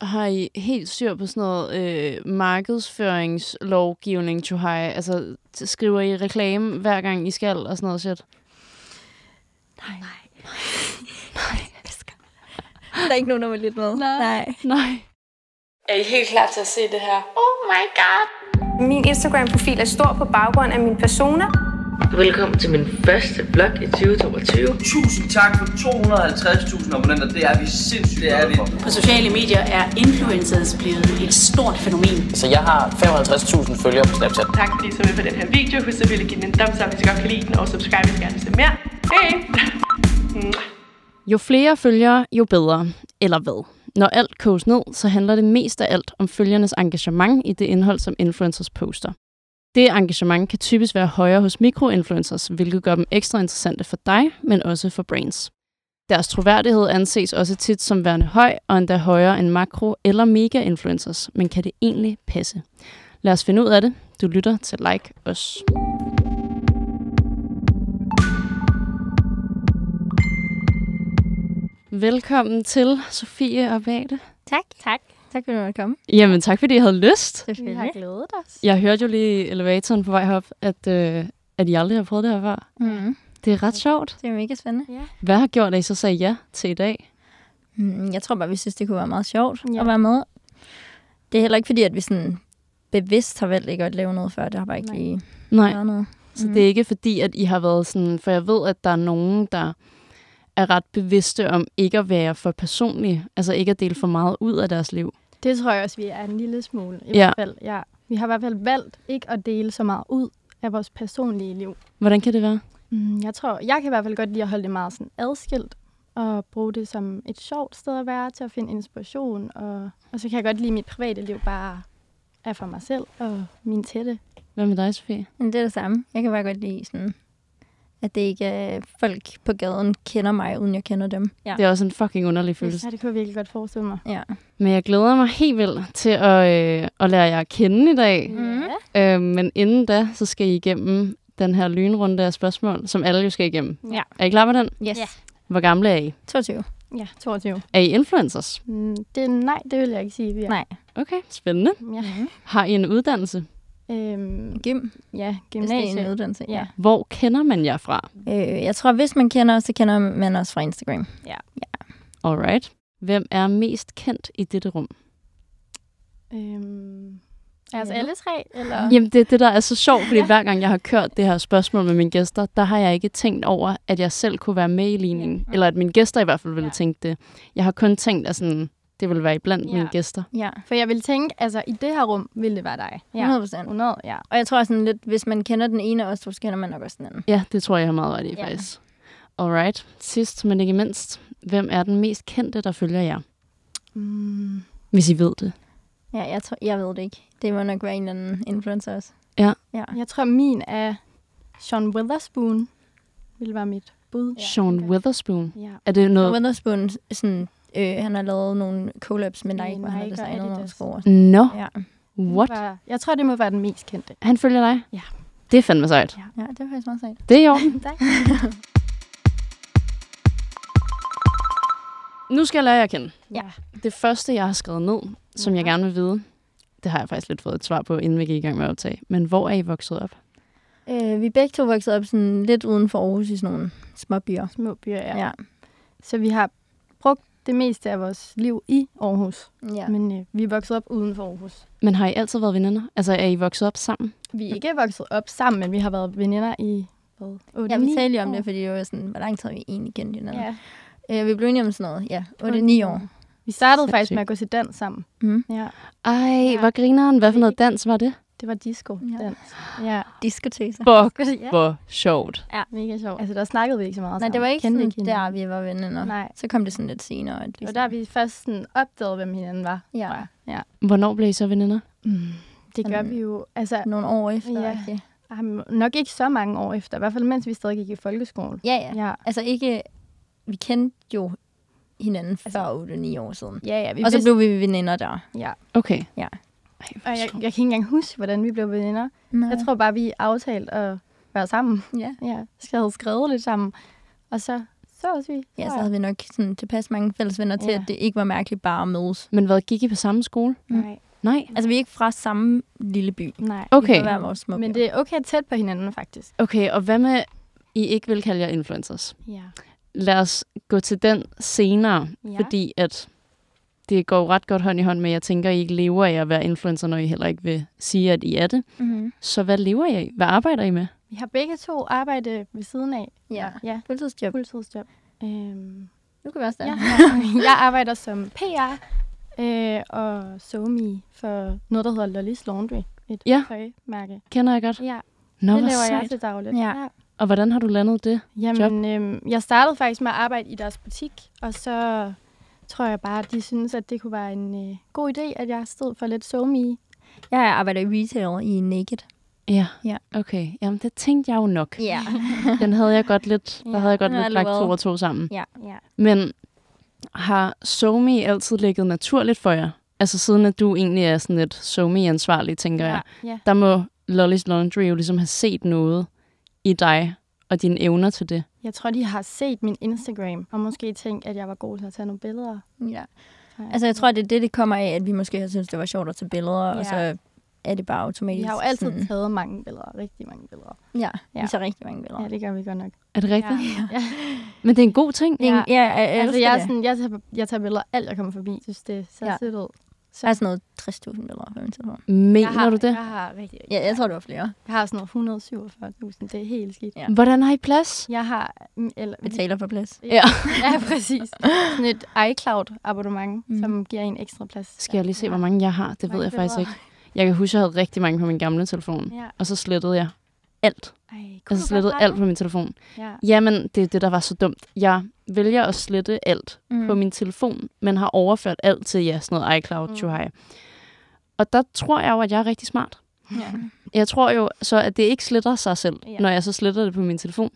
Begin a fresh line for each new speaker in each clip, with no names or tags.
har I helt styr på sådan noget øh, markedsføringslovgivning, to high? Altså, t- skriver I reklame hver gang I skal og sådan noget shit?
Nej. Nej. Nej. Der er ikke nogen, der vil lytte med.
Nej.
Nej.
Nej.
Er I helt klar til at se det her? Oh my god!
Min Instagram-profil er stor på baggrund af min persona.
Velkommen til min første blog i 2022.
Tusind tak for 250.000 abonnenter. Det er vi sindssygt det er vi.
På sociale medier er influencers blevet et stort fænomen.
Så jeg har 55.000 følgere på Snapchat.
Tak fordi I så med på den her video. Husk selvfølgelig at give den en thumbs up, hvis I godt kan lide den, og subscribe, hvis I gerne vil se mere. Hej!
Jo flere følgere, jo bedre. Eller hvad? Når alt koges ned, så handler det mest af alt om følgernes engagement i det indhold, som influencers poster. Det engagement kan typisk være højere hos mikroinfluencers, hvilket gør dem ekstra interessante for dig, men også for brands. Deres troværdighed anses også tit som værende høj, og endda højere end makro- eller mega-influencers, men kan det egentlig passe? Lad os finde ud af det. Du lytter til Like Os. Velkommen til, Sofie og Bate.
Tak. Tak. Tak fordi du måtte komme.
Jamen tak, fordi I havde lyst.
Selvfølgelig. Vi har glædet os.
Jeg hørte jo lige i elevatoren på vej herop, at, øh, at I aldrig har prøvet det her før.
Mm.
Det er ret sjovt.
Det er mega spændende.
Hvad har gjort, at I så sagde ja til i dag?
Mm, jeg tror bare, vi synes, det kunne være meget sjovt
Ja.
at være med. Det er heller ikke fordi, at vi sådan bevidst har valgt ikke at lave noget før. Det har bare ikke
Nej.
lige
Nej,
været noget.
så det er ikke fordi, at I har været sådan... For jeg ved, at der er nogen, der er ret bevidste om ikke at være for personlige. Altså ikke at dele for meget ud af deres liv.
Det tror jeg også, vi er en lille smule.
Ja.
I hvert fald. Ja. Vi har i hvert fald valgt ikke at dele så meget ud af vores personlige liv.
Hvordan kan det være?
Mm, Jeg tror, jeg kan i hvert fald godt lide at holde det meget sådan adskilt og bruge det som et sjovt sted at være til at finde inspiration. Og, og så kan jeg godt lide, at mit private liv bare er for mig selv og min tætte.
Hvad med dig, Sofie?
Men det er det samme. Jeg kan bare godt lide sådan, at det ikke er folk på gaden kender mig, uden jeg kender dem. Ja.
Det er også en fucking underlig følelse.
Ja, det kunne jeg virkelig godt forestille mig.
Ja.
Men jeg glæder mig helt vildt til at, øh, at lære jer at kende i dag.
Mm.
Øh, men inden da, så skal I igennem den her lynrunde af spørgsmål, som alle jo skal igennem.
Ja.
Er I klar på den?
Yes.
Ja.
Hvor gamle er I?
22.
Ja, 22.
Er I influencers?
Mm, Det, nej, det vil jeg ikke sige, vi er.
Nej.
Okay, spændende.
Ja.
Mhm.
Har I en uddannelse?
Øhm,
Gym.
ja,
Det er en
gymnasiet.
uddannelse. Ja.
Ja.
Hvor kender man jer fra?
Øh, jeg tror, hvis man kender os, så kender man os fra Instagram.
Alright. Hvem er mest kendt i dette rum?
Øhm, er os
Ja.
alle tre? Eller?
Jamen, det er det, der er så sjovt, fordi hver gang jeg har kørt det her spørgsmål med mine gæster, der har jeg ikke tænkt over, at jeg selv kunne være med i ligningen. Eller at mine gæster i hvert fald ville
Ja.
tænke det. Jeg har kun tænkt, at sådan, det ville være iblandt
Ja.
mine gæster.
Ja,
For jeg vil tænke, altså i det her rum ville det være dig.
100 procent.
100, ja.
Og jeg tror sådan lidt, hvis man kender den ene af os to, så kender man nok også den anden.
Ja, det tror jeg, jeg har meget ret i,
Ja.
faktisk. Alright. Sidst, men ikke mindst. Hvem er den mest kendte, der følger jer?
Mm,
Hvis I ved det.
Ja, jeg, tror, jeg ved det ikke. Det må nok være en eller anden influencer også.
jeg tror, min er Sean Witherspoon ville være mit bud.
Ja, Sean Witherspoon.
Ja.
Er det noget...
Witherspoon, sådan, øh, han har lavet nogle collabs med
Med
Nike, hvor han har
Nike og
designet nogle
Adidas.
sko. og sådan.
Nå,
Ja.
Det
what?
Var, jeg tror, det må være den mest kendte.
Han følger dig?
Ja.
Det er fandme sejt.
ja, det er faktisk meget sejt.
Det er i orden.
Tak.
nu skal jeg lære jer at kende.
Ja.
Det første, jeg har skrevet ned, som
Mhm.
jeg gerne vil vide, det har jeg faktisk lidt fået et svar på, inden vi gik i gang med at optage. Men hvor er I vokset op?
Øh, vi er begge to vokset op sådan lidt uden for Aarhus i sådan nogle små byer.
Små byer, ja. ja.
Ja.
Så vi har brugt det meste af vores liv i Aarhus.
ja.
Ja. Men øh, vi er vokset op uden for Aarhus.
Men har I altid været veninder? Altså, er I vokset op sammen?
Vi er ikke vokset op sammen, men vi har været veninder i, hvad? 8,
Ja, vi talte lige om det, fordi det var sådan, hvor lang tid har vi egentlig kendt hinanden.
Ja.
Øh, vi blev enige om sådan noget, ja, 8-9 år.
Vi startede faktisk
Sindssygt.
med at gå til dans sammen.
Mm.
Ja.
Ej, hvor grineren. Hvad for noget dans var det?
Det var disco.
Ja.
Ja. ja.
Diskoteser.
Fuck,
Ja.
hvor sjovt.
Mega sjovt. Altså, der snakkede vi ikke så meget
Nej,
sammen.
det var ikke
Kendte
sådan,
hinanden.
der vi var venner.
Nej.
Så kom det sådan lidt senere. At vi
Det var der, vi først sådan opdagede, hvem hinanden var.
Ja.
tror jeg. ja.
Hvornår blev I så veninder?
Mm. Det gør
Sådan-
vi jo, altså
Nogle år efter.
Ja.
rigtig.
um, nok ikke så mange år efter. I hvert fald, mens vi stadig gik i folkeskolen.
ja, ja.
Ja,
Altså ikke, vi kendte jo hinanden før 8-9 år siden.
ja, ja Altså- vi
Og så
vidste-
blev vi veninder der.
ja.
Okay.
Ja.
Ej, hvor
Og jeg, jeg
sjovt.
kan ikke engang huske, hvordan vi blev veninder.
Nej.
Jeg tror bare, vi aftalte at være sammen.
Ja.
Ja, skal havde skrevet lidt sammen. Og så Så også vi.
Ja, så
tror jeg.
havde vi nok sådan tilpas mange fælles venner til,
Ja.
at det ikke var mærkeligt bare at mødes.
Men hvad, gik I på samme skole?
Nej,
Nej.
Altså, vi er ikke fra samme lille by.
nej.
Vi
Okay.
var hver vores små
Men
by.
det er okay tæt på hinanden, faktisk.
Okay, og hvad med, I ikke vil kalde jer influencers?
Ja.
Lad os gå til den senere,
Ja.
ja. fordi at det går jo ret godt hånd i hånd med, at jeg tænker, at I ikke lever af at være influencer, når I heller ikke vil sige, at I er det.
Mhm.
Mm-hmm.
Så hvad lever I af? Hvad arbejder I med?
Vi har begge to arbejde ved siden af.
Ja.
Ja,
Fuldtidsjob.
fuldtidsjob. Øhm,
Nu kan vi også
ja.
det. Ja.
jeg arbejder som PR øh, og somi for noget, der hedder Lolly's Laundry. Et
Ja.
tøjmærke.
Kender jeg godt.
Ja,
Nå, hvor
det laver jeg
sejt.
til dagligt.
Ja.
Og hvordan har du landet det?
Jamen, øhm, jeg startede faktisk med at arbejde i deres butik, og så tror jeg bare, at de synes, at det kunne være en øh, god idé, at jeg stod for lidt somi.
Jeg arbejder i retail i Naked.
Ja.
Ja.
Okay. Jamen, det tænkte jeg jo nok.
Ja.
Den havde jeg godt lidt, der
Ja,
havde jeg godt
den er
lidt lagt to
alvorlig.
og to sammen.
ja.
Ja.
Men har Somi altid ligget naturligt for jer? Altså siden at du egentlig er sådan lidt Somi-ansvarlig, tænker ja. jeg.
ja.
Der må Lolly's Laundry jo ligesom have set noget i dig og dine evner til det.
Jeg tror, de har set min Instagram, og måske tænkt, at jeg var god til at tage nogle billeder.
ja. Altså, jeg tror, det er det, det kommer af, at vi måske har syntes, det var sjovt at tage billeder, ja.
Ja.
og så er det bare automatisk.
Vi har jo altid
sådan-
taget mange billeder, rigtig mange billeder.
Ja,
Ja.
ja. vi tager rigtig mange billeder.
Ja, det gør vi godt nok.
Er det rigtigt? Ja.
Ja.
Men det er en god ting.
Det er en- ja, jeg elsker
Altså, jeg, er
det.
sådan, jeg, tager, jeg tager billeder af alt, jeg kommer forbi. Jeg synes, det ser
Ja.
ja. sødt ud.
Der er sådan noget 60.000 billeder på min telefon.
Mener
Jeg har,
du det?
Jeg har, rigtig,
Ja, jeg tror, det var flere.
jeg har sådan noget 147.000. Det er helt skidt.
Ja.
Hvordan har I plads?
Jeg har... mm, Eller,
Betaler for plads.
Ja.
ja, præcis. Sådan et iCloud-abonnement, mm. som giver en ekstra plads.
Skal jeg lige se, hvor mange jeg har? Det ved
Mange
jeg faktisk ikke.
billeder.
Jeg kan huske, at jeg havde rigtig mange på min gamle telefon.
Ja.
Og så slettede jeg alt.
Ej, kunne
Altså, Jeg
du godt
slettede
have
alt
det?
på min telefon.
Ja.
Jamen, det er det, der var så dumt. Jeg vælger at slette alt mm. på min telefon, men har overført alt til ja, sådan noget iCloud, mm. Chuhai. Og der tror jeg jo, at jeg er rigtig smart.
Ja.
Jeg tror jo så, at det ikke sletter sig selv,
Ja.
ja. når jeg så sletter det på min telefon.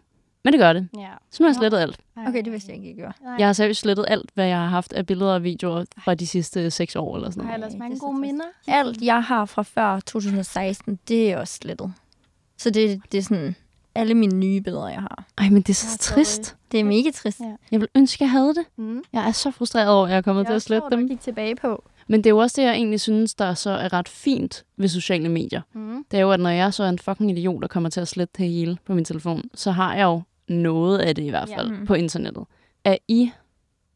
Men det gør det.
ja.
Så nu har jeg
Nå.
slettet alt.
Ej.
Okay, det vidste jeg ikke, jeg gjorde.
Nej.
Jeg har seriøst slettet alt, hvad jeg har haft af billeder og videoer fra de sidste seks år eller sådan
Jeg har
noget.
Nej,
ellers mange
det er så
gode
trist.
minder.
Alt, jeg har fra før 2016, det er også slettet. Så det, det er sådan alle mine nye billeder, jeg har.
Ej, men det er så
Jeg er
trist.
Det er mega trist.
Ja.
Jeg vil ønske, jeg havde det.
Mm.
Jeg er så frustreret over, at jeg er kommet til at slette dem.
Jeg gik tilbage på.
Men det er jo også det, jeg egentlig synes, der så er ret fint ved sociale medier.
Mm.
Det er jo, at når jeg så er en fucking idiot, der kommer til at slette det hele på min telefon, så har jeg jo noget af det i hvert fald
Ja. Mm.
ja. på internettet. Er I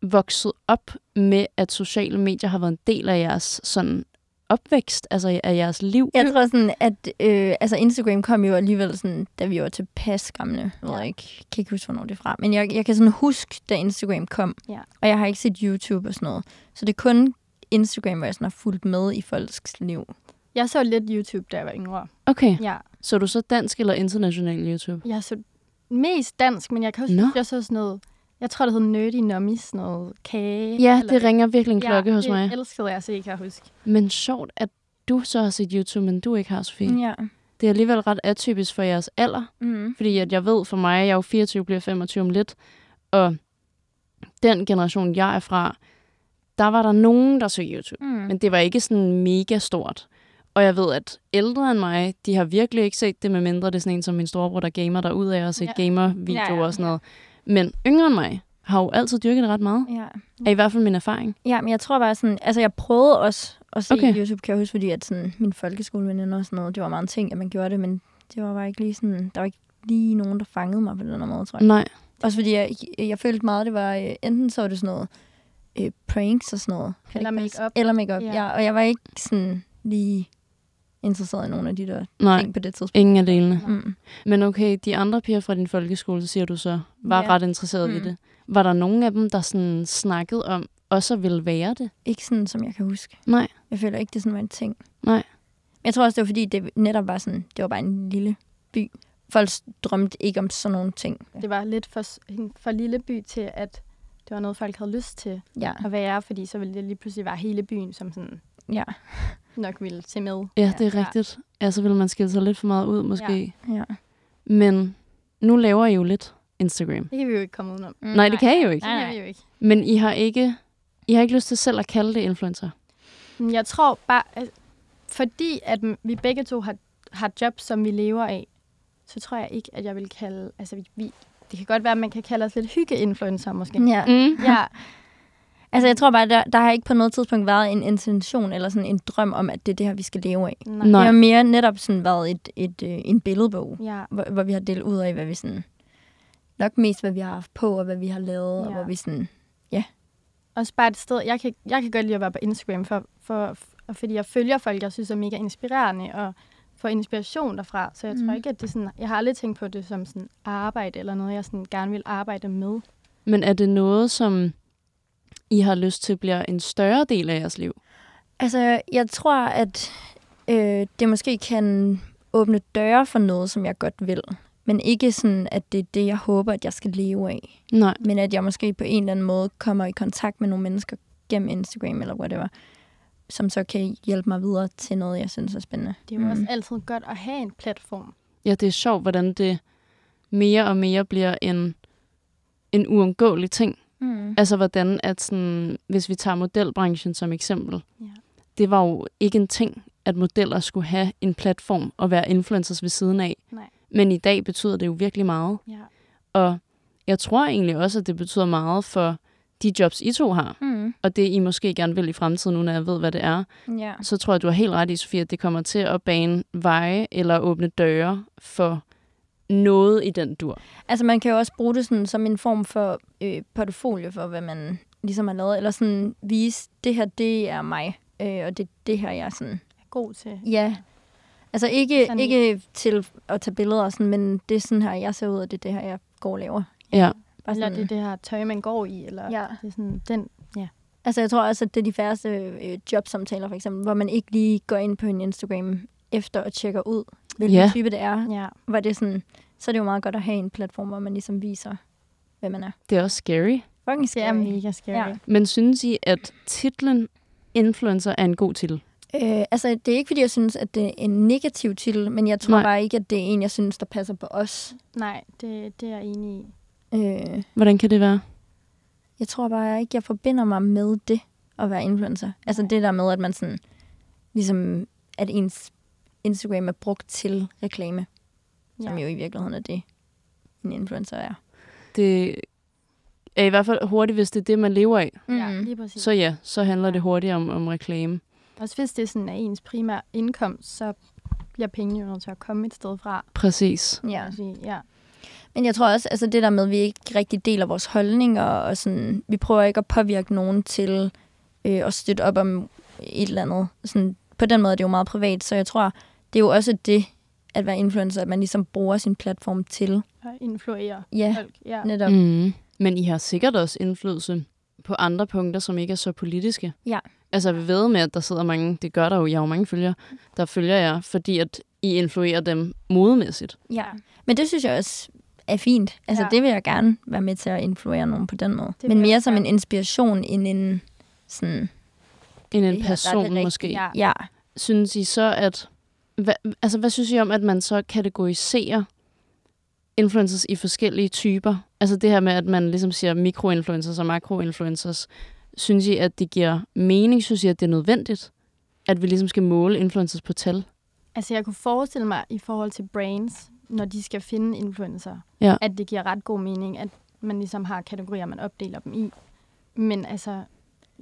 vokset op med, at sociale medier har været en del af jeres sådan opvækst, altså af jeres liv?
Jeg tror sådan, at øh, altså Instagram kom jo alligevel sådan, da vi var tilpas gamle. Jeg ved ikke, kan ikke huske, hvornår det er fra. Men jeg, jeg kan sådan huske, da Instagram kom.
Ja.
Og jeg har ikke set YouTube og sådan noget. Så det er kun Instagram, hvor jeg sådan har fulgt med i folks liv.
Jeg så lidt YouTube, da jeg var yngre.
Okay,
Ja.
så er du så dansk eller international YouTube?
Jeg så mest dansk, men jeg kan også
Nå.
huske, jeg så sådan noget... Jeg tror, det hed Nerdy Nummies, sådan noget kage.
Ja,
eller-
det ringer virkelig en klokke
ja,
hos mig.
det elskede jeg, så ikke kan jeg huske.
Men sjovt, at du så har set YouTube, men du ikke har, Sofie. Mm.
Ja.
Det er alligevel ret atypisk for jeres alder,
Mm.
fordi at jeg ved for mig, jeg er jo 24, bliver 25 om lidt, og den generation, jeg er fra, der var der nogen, der så YouTube.
Mm.
Men det var ikke sådan mega stort. Og jeg ved, at ældre end mig, de har virkelig ikke set det, medmindre det er sådan en som min storebror, der gamer derude af og har set
Ja.
ja. gamer-videoer
Ja, ja.
og sådan noget. Men yngre end mig har jo altid dyrket det ret meget.
Ja.
Mm.
Er i hvert fald min erfaring.
Ja, men jeg tror bare sådan, altså jeg prøvede også at se
Okay.
okay. YouTube, kan jeg huske, fordi at sådan, min folkeskoleveninder og sådan noget, det var meget en ting, at man gjorde det, men det var bare ikke lige sådan, der var ikke lige nogen, der fangede mig på den her måde, tror jeg.
Nej.
Også fordi jeg, jeg følte meget, det var, øh, enten så var det sådan noget øh, pranks og sådan noget. Kan det
Eller
ikke passe?
make-up.
Eller make-up,
Ja.
ja. ja. Og jeg var ikke sådan lige interesseret i nogen af de der Nej.
Nej.
ting på det tidspunkt.
Ingen af delene.
Mm.
Men okay, de andre piger fra din folkeskole, siger du så, var
Ja.
ja. ret interesseret mm. i
Mm.
det. Var der nogen af dem, der sådan snakkede om, og så ville være det?
Ikke sådan, som jeg kan huske.
Nej.
Jeg føler ikke, det sådan var en ting.
Nej.
Jeg tror også, det var fordi, det netop var sådan, det var bare en lille by. Folk drømte ikke om sådan nogle ting.
Det var lidt for, s- en for lille by til, at det var noget, folk havde lyst til
Ja.
at være, fordi så ville det lige pludselig være hele byen, som sådan
Ja.
nok ville se med.
Ja, det er rigtigt. Ja, så ville man skille sig lidt for meget ud, måske.
Ja.
Men nu laver I jo lidt Instagram.
Det kan vi jo ikke komme udenom.
Mm.
Nej, det kan I jo ikke.
Det
Nej,
kan
nej.
vi jo ikke.
Men I har ikke, I har ikke lyst til selv at kalde det influencer.
Men Mm, Jeg tror bare, at fordi at m- vi begge to har, har job, som vi lever af, så tror jeg ikke, at jeg vil kalde... Altså, vi, vi, det kan godt være, at man kan kalde os lidt hygge-influencer måske.
Ja.
Mm.
Ja,
Altså, jeg tror bare, der, der har ikke på noget tidspunkt været en intention eller sådan en drøm om, at det er det her, vi skal leve af.
nej.
Nå.
Det
Nej.
har mere netop sådan været et, et, øh, en billedbog,
Ja,
hvor, hvor vi har delt ud af, hvad vi sådan... Nok mest, hvad vi har haft på, og hvad vi har lavet, ja. og
Ja.
hvor vi sådan...
også bare et sted, jeg kan, jeg kan godt lide at være på Instagram, for, for, for, fordi jeg følger folk, jeg synes er mega inspirerende, og får inspiration derfra. Så jeg mm. tror ikke, at det er sådan, jeg har aldrig tænkt på det som sådan arbejde eller noget, jeg sådan gerne vil arbejde med.
Men er det noget, som I har lyst til bliver en større del af jeres liv?
Altså, jeg tror, at øh, det måske kan åbne døre for noget, som jeg godt vil. Men ikke sådan, at det er det, jeg håber, at jeg skal leve af.
Nej.
men at jeg måske på en eller anden måde kommer i kontakt med nogle mennesker gennem Instagram eller whatever, som så kan hjælpe mig videre til noget, jeg synes er spændende.
Det er jo mm. også altid godt at have en platform.
Ja, det er sjovt, hvordan det mere og mere bliver en, en uundgåelig ting.
Mm.
Altså hvordan, at sådan, hvis vi tager modelbranchen som eksempel,
Ja.
det var jo ikke en ting, at modeller skulle have en platform og være influencers ved siden af.
Nej.
Men i dag betyder det jo virkelig meget.
Ja.
Og jeg tror egentlig også, at det betyder meget for de jobs, I to har,
Mm.
og det I måske gerne vil i fremtiden, nu når jeg ved, hvad det er,
Ja.
så tror jeg, du har helt ret i, Sofie, at det kommer til at bane veje eller åbne døre for noget i den dur.
Altså man kan jo også bruge det sådan, som en form for øh, portfolio for, hvad man ligesom har lavet, eller sådan vise, det her, det er mig, øh, og det det her, jeg er sådan.
Er god til.
Ja. Altså ikke,
Sådan-
ikke til at tage billeder, og sådan, men det er sådan her, jeg ser ud, og det er det her, jeg går og laver.
Ja.
Bare
Eller
sådan,
det er det her tøj, man går i, eller
Ja.
det er sådan den.
Altså, jeg tror også, at det er de færreste øh, jobsamtaler, for eksempel, hvor man ikke lige går ind på en Instagram efter og tjekker ud, hvilken
Ja.
yeah. type det er.
Ja.
Hvor det er sådan, så er det jo meget godt at have en platform, hvor man ligesom viser, hvem man er.
Det er også scary.
Fucking
Det er
scary.
mega scary.
Ja.
Ja.
Men synes I, at titlen influencer er en god titel?
Øh, altså, det er ikke, fordi jeg synes, at det er en negativ titel, men jeg tror
Nej.
Nej. bare ikke, at det er en, jeg synes, der passer på os.
Nej, det, det er jeg enig i.
Øh,
Hvordan kan det være?
jeg tror bare ikke, jeg forbinder mig med det at være influencer. Altså det der med, at man sådan, ligesom, at ens Instagram er brugt til reklame.
Ja.
som jo i virkeligheden er det, en influencer er.
Det er i hvert fald hurtigt, hvis det er det, man lever af.
Mm.
Ja, lige præcis.
Så
Så...
ja, så handler det hurtigt om, om reklame.
Også hvis det sådan er ens primære indkomst, så bliver pengene jo nødt til at komme et sted fra.
Præcis.
ja.
Altså, ja.
Men jeg tror også, altså det der med, at vi ikke rigtig deler vores holdninger, og sådan, vi prøver ikke at påvirke nogen til øh, at støtte op om et eller andet. Sådan, på den måde er det jo meget privat, så jeg tror, det er jo også det, at være influencer, at man ligesom bruger sin platform til.
Og influere
Ja,
folk. Ja.
netop. Mm.
Mm. Men I har sikkert også indflydelse på andre punkter, som ikke er så politiske.
Ja.
Altså vi ved med, at der sidder mange, det gør der jo, jeg har jo mange følgere, der følger jer, fordi at I influerer dem modemæssigt.
Ja. Men det synes jeg også er fint. Altså
Ja.
ja. det vil jeg gerne være med til at influere nogen på den måde.
vil
Men
jeg
mere
også
som en
gerne.
inspiration end en sådan,
End
Det
en
her, der er det
person
rigtige,
måske.
Ja.
ja,
Synes I så, at... Hvad, altså hvad synes I om, at man så kategoriserer influencers i forskellige typer? Altså det her med, at man ligesom siger mikroinfluencers og makroinfluencers. Synes I, at det giver mening? Synes I, at det er nødvendigt? At vi ligesom skal måle influencers på tal?
Altså, jeg kunne forestille mig i forhold til brands, når de skal finde influencer,
Ja.
at det giver ret god mening, at man ligesom har kategorier, man opdeler dem i. Men altså,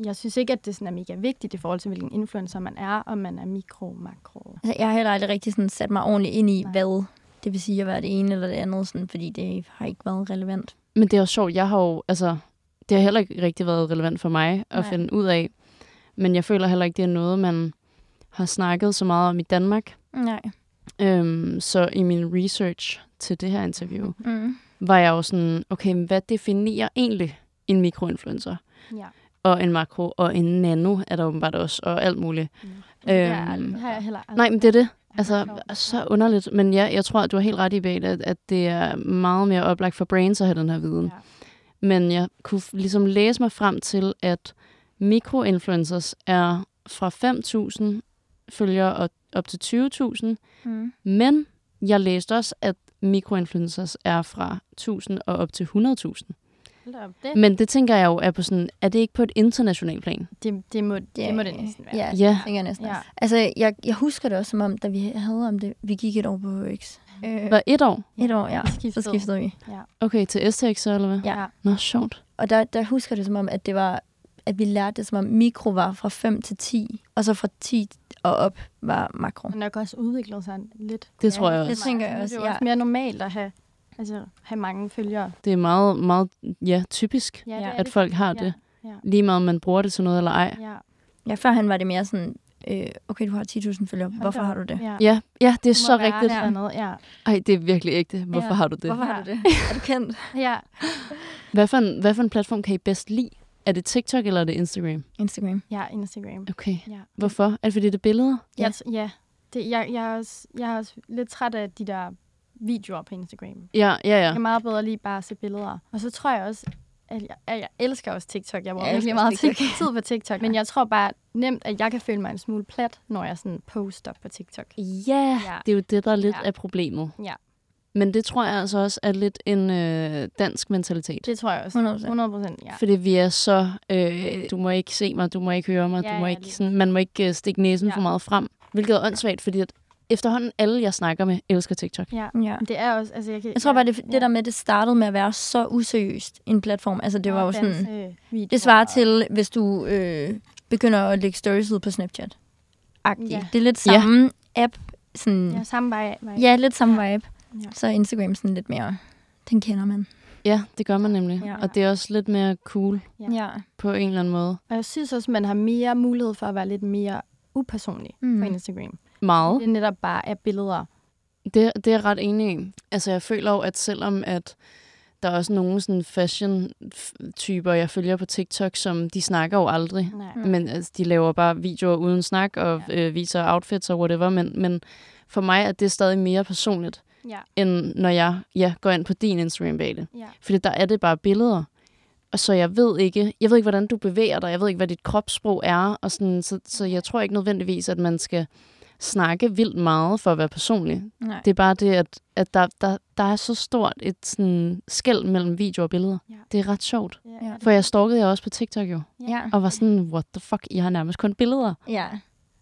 jeg synes ikke, at det sådan er mega vigtigt i forhold til, hvilken influencer man er, om man er mikro, makro.
Altså, jeg har heller aldrig rigtig sådan sat mig ordentligt ind i,
Nej.
Nej. hvad det vil sige at være det ene eller det andet, sådan, fordi det har ikke været relevant.
Men det er også sjovt, jeg har jo, altså, det har heller ikke rigtig været relevant for mig at Nej.
Nej.
finde ud af. Men jeg føler heller ikke, det er noget, man har snakket så meget om i Danmark.
Nej.
Øhm, så i min research til det her interview,
Mm.
var jeg jo sådan, okay, men hvad definerer egentlig en mikroinfluencer?
Ja.
Og en makro, og en nano er der åbenbart også, og alt muligt.
Det har jeg aldrig- det har jeg heller aldrig.
Nej, men det er Altså, det.
Ja, det er
Altså,
sjovt.
så underligt. Men ja, jeg tror, at du har helt ret i, Bette, at, at det er meget mere oplagt for brains at have den her viden.
Ja.
Ja. Men jeg kunne f- ligesom læse mig frem til, at mikroinfluencers er fra 5.000 følgere og op til 20.000.
Mm.
Men jeg læste også, at mikroinfluencers er fra 1.000 og op til 100.000.
Hold da op, det,
Men det tænker jeg jo er på sådan, er det ikke på et internationalt plan?
det, det, må, det, det må det næsten være.
Ja,
Ja.
ja. tænker jeg næsten.
Ja.
Ja. Altså, jeg, jeg husker det også som om, da vi havde om det, vi gik et år på HX.
Mm.
Øh,
Var et år?
et år, ja.
Skiftede.
Så skiftede vi.
Okay, til STX så, eller hvad?
Ja.
Nå, sjovt.
Og der, der husker det som om, at det var at vi lærte det som om mikro var fra 5 til 10, og så fra 10 og op var makro.
Den nok også udviklet sig lidt.
Det tror jeg
det
også.
tænker
Nu
jeg
er
også,
Det er jo
ja.
også mere normalt at have, altså, have mange følgere.
Det er meget, meget ja, typisk,
Ja,
det
det
er
at folk har det.
Ja.
Lige meget om man bruger det til noget eller ej.
Ja.
Ja, førhen var det mere sådan, øh, okay, du har 10.000 følgere, hvorfor har du det?
Ja.
Ja, ja det er så rigtigt.
Ja. Noget. ja.
Ej, det er virkelig ægte. Hvorfor
Ja,
har du det?
Hvorfor har
Ja.
du det? Er du kendt?
ja.
Hvad for, en, hvad for en platform kan I bedst lide? Er det TikTok eller er det Instagram?
Instagram.
ja, Instagram.
Okay.
Ja.
Hvorfor? Er det fordi, det er billeder?
Ja. Jeg, t- ja. Det, jeg, jeg, er også, jeg er også lidt træt af de der videoer på Instagram.
Ja, ja, ja.
Jeg kan meget bedre lige bare at se billeder. Og så tror jeg også, at jeg, at jeg elsker også TikTok. Jeg bruger
Jeg
ja, virkelig
elsker
meget
også
TikTok. tid på TikTok. Men jeg tror bare nemt, at jeg kan føle mig en smule plat, når jeg sådan poster på TikTok.
Ja,
Ja.
det er jo det, der er lidt ja.
Ja.
af problemet.
Ja.
Men det tror jeg altså også er lidt en øh, dansk mentalitet.
Det tror jeg også.
100%.
100 procent, ja.
Fordi vi er så, øh, du må ikke se mig, du må ikke høre mig,
Ja,
ja, du må
ja,
ikke,
lige
sådan, man må ikke øh, stikke næsen ja.
Ja.
for meget frem. Hvilket er åndssvagt, fordi at efterhånden alle, jeg snakker med, elsker TikTok.
ja.
Ja.
Men Det er også, altså jeg kan...
Jeg tror bare, det, det der med, det startede med at være så useriøst en platform. Altså, det var jo sådan... Det svarer til, hvis du øh, begynder at lægge stories ud på Snapchat. Agtigt.
Ja.
Det er lidt samme app. Sådan,
Ja, samme vej. vej.
mm. Ja, lidt samme vibe.
Ja.
Så er Instagram sådan lidt mere... Den kender man.
Ja, det gør man nemlig. Ja.
Ja.
Og det er også lidt mere cool
Ja.
på en eller anden måde.
Og jeg synes også, man har mere mulighed for at være lidt mere upersonlig mm.
Mm.
på Instagram.
Meget.
Det er netop bare af billeder.
Det, det er jeg ret enig i. Altså, jeg føler jo, at selvom at der er også nogle sådan fashion-typer, jeg følger på TikTok, som de snakker jo aldrig.
Nej.
Mm. Men altså, de laver bare videoer uden snak og ja. øh, viser outfits og whatever. Men, men for mig er det stadig mere personligt,
Ja.
end når jeg ja, går ind på din instagram bag
Ja.
Fordi der er det bare billeder. Og så jeg ved ikke, jeg ved ikke, hvordan du bevæger dig. Jeg ved ikke, hvad dit kropssprog er. Og sådan, så, så jeg tror ikke nødvendigvis, at man skal snakke vildt meget for at være personlig.
Nej.
Det er bare det, at, at der, der, der er så stort et sådan, skæld mellem video og billeder.
Ja.
Det er ret sjovt.
Ja.
For jeg stalkede jeg også på TikTok jo,
Ja.
og var sådan, what the fuck, I har nærmest kun billeder.
Ja.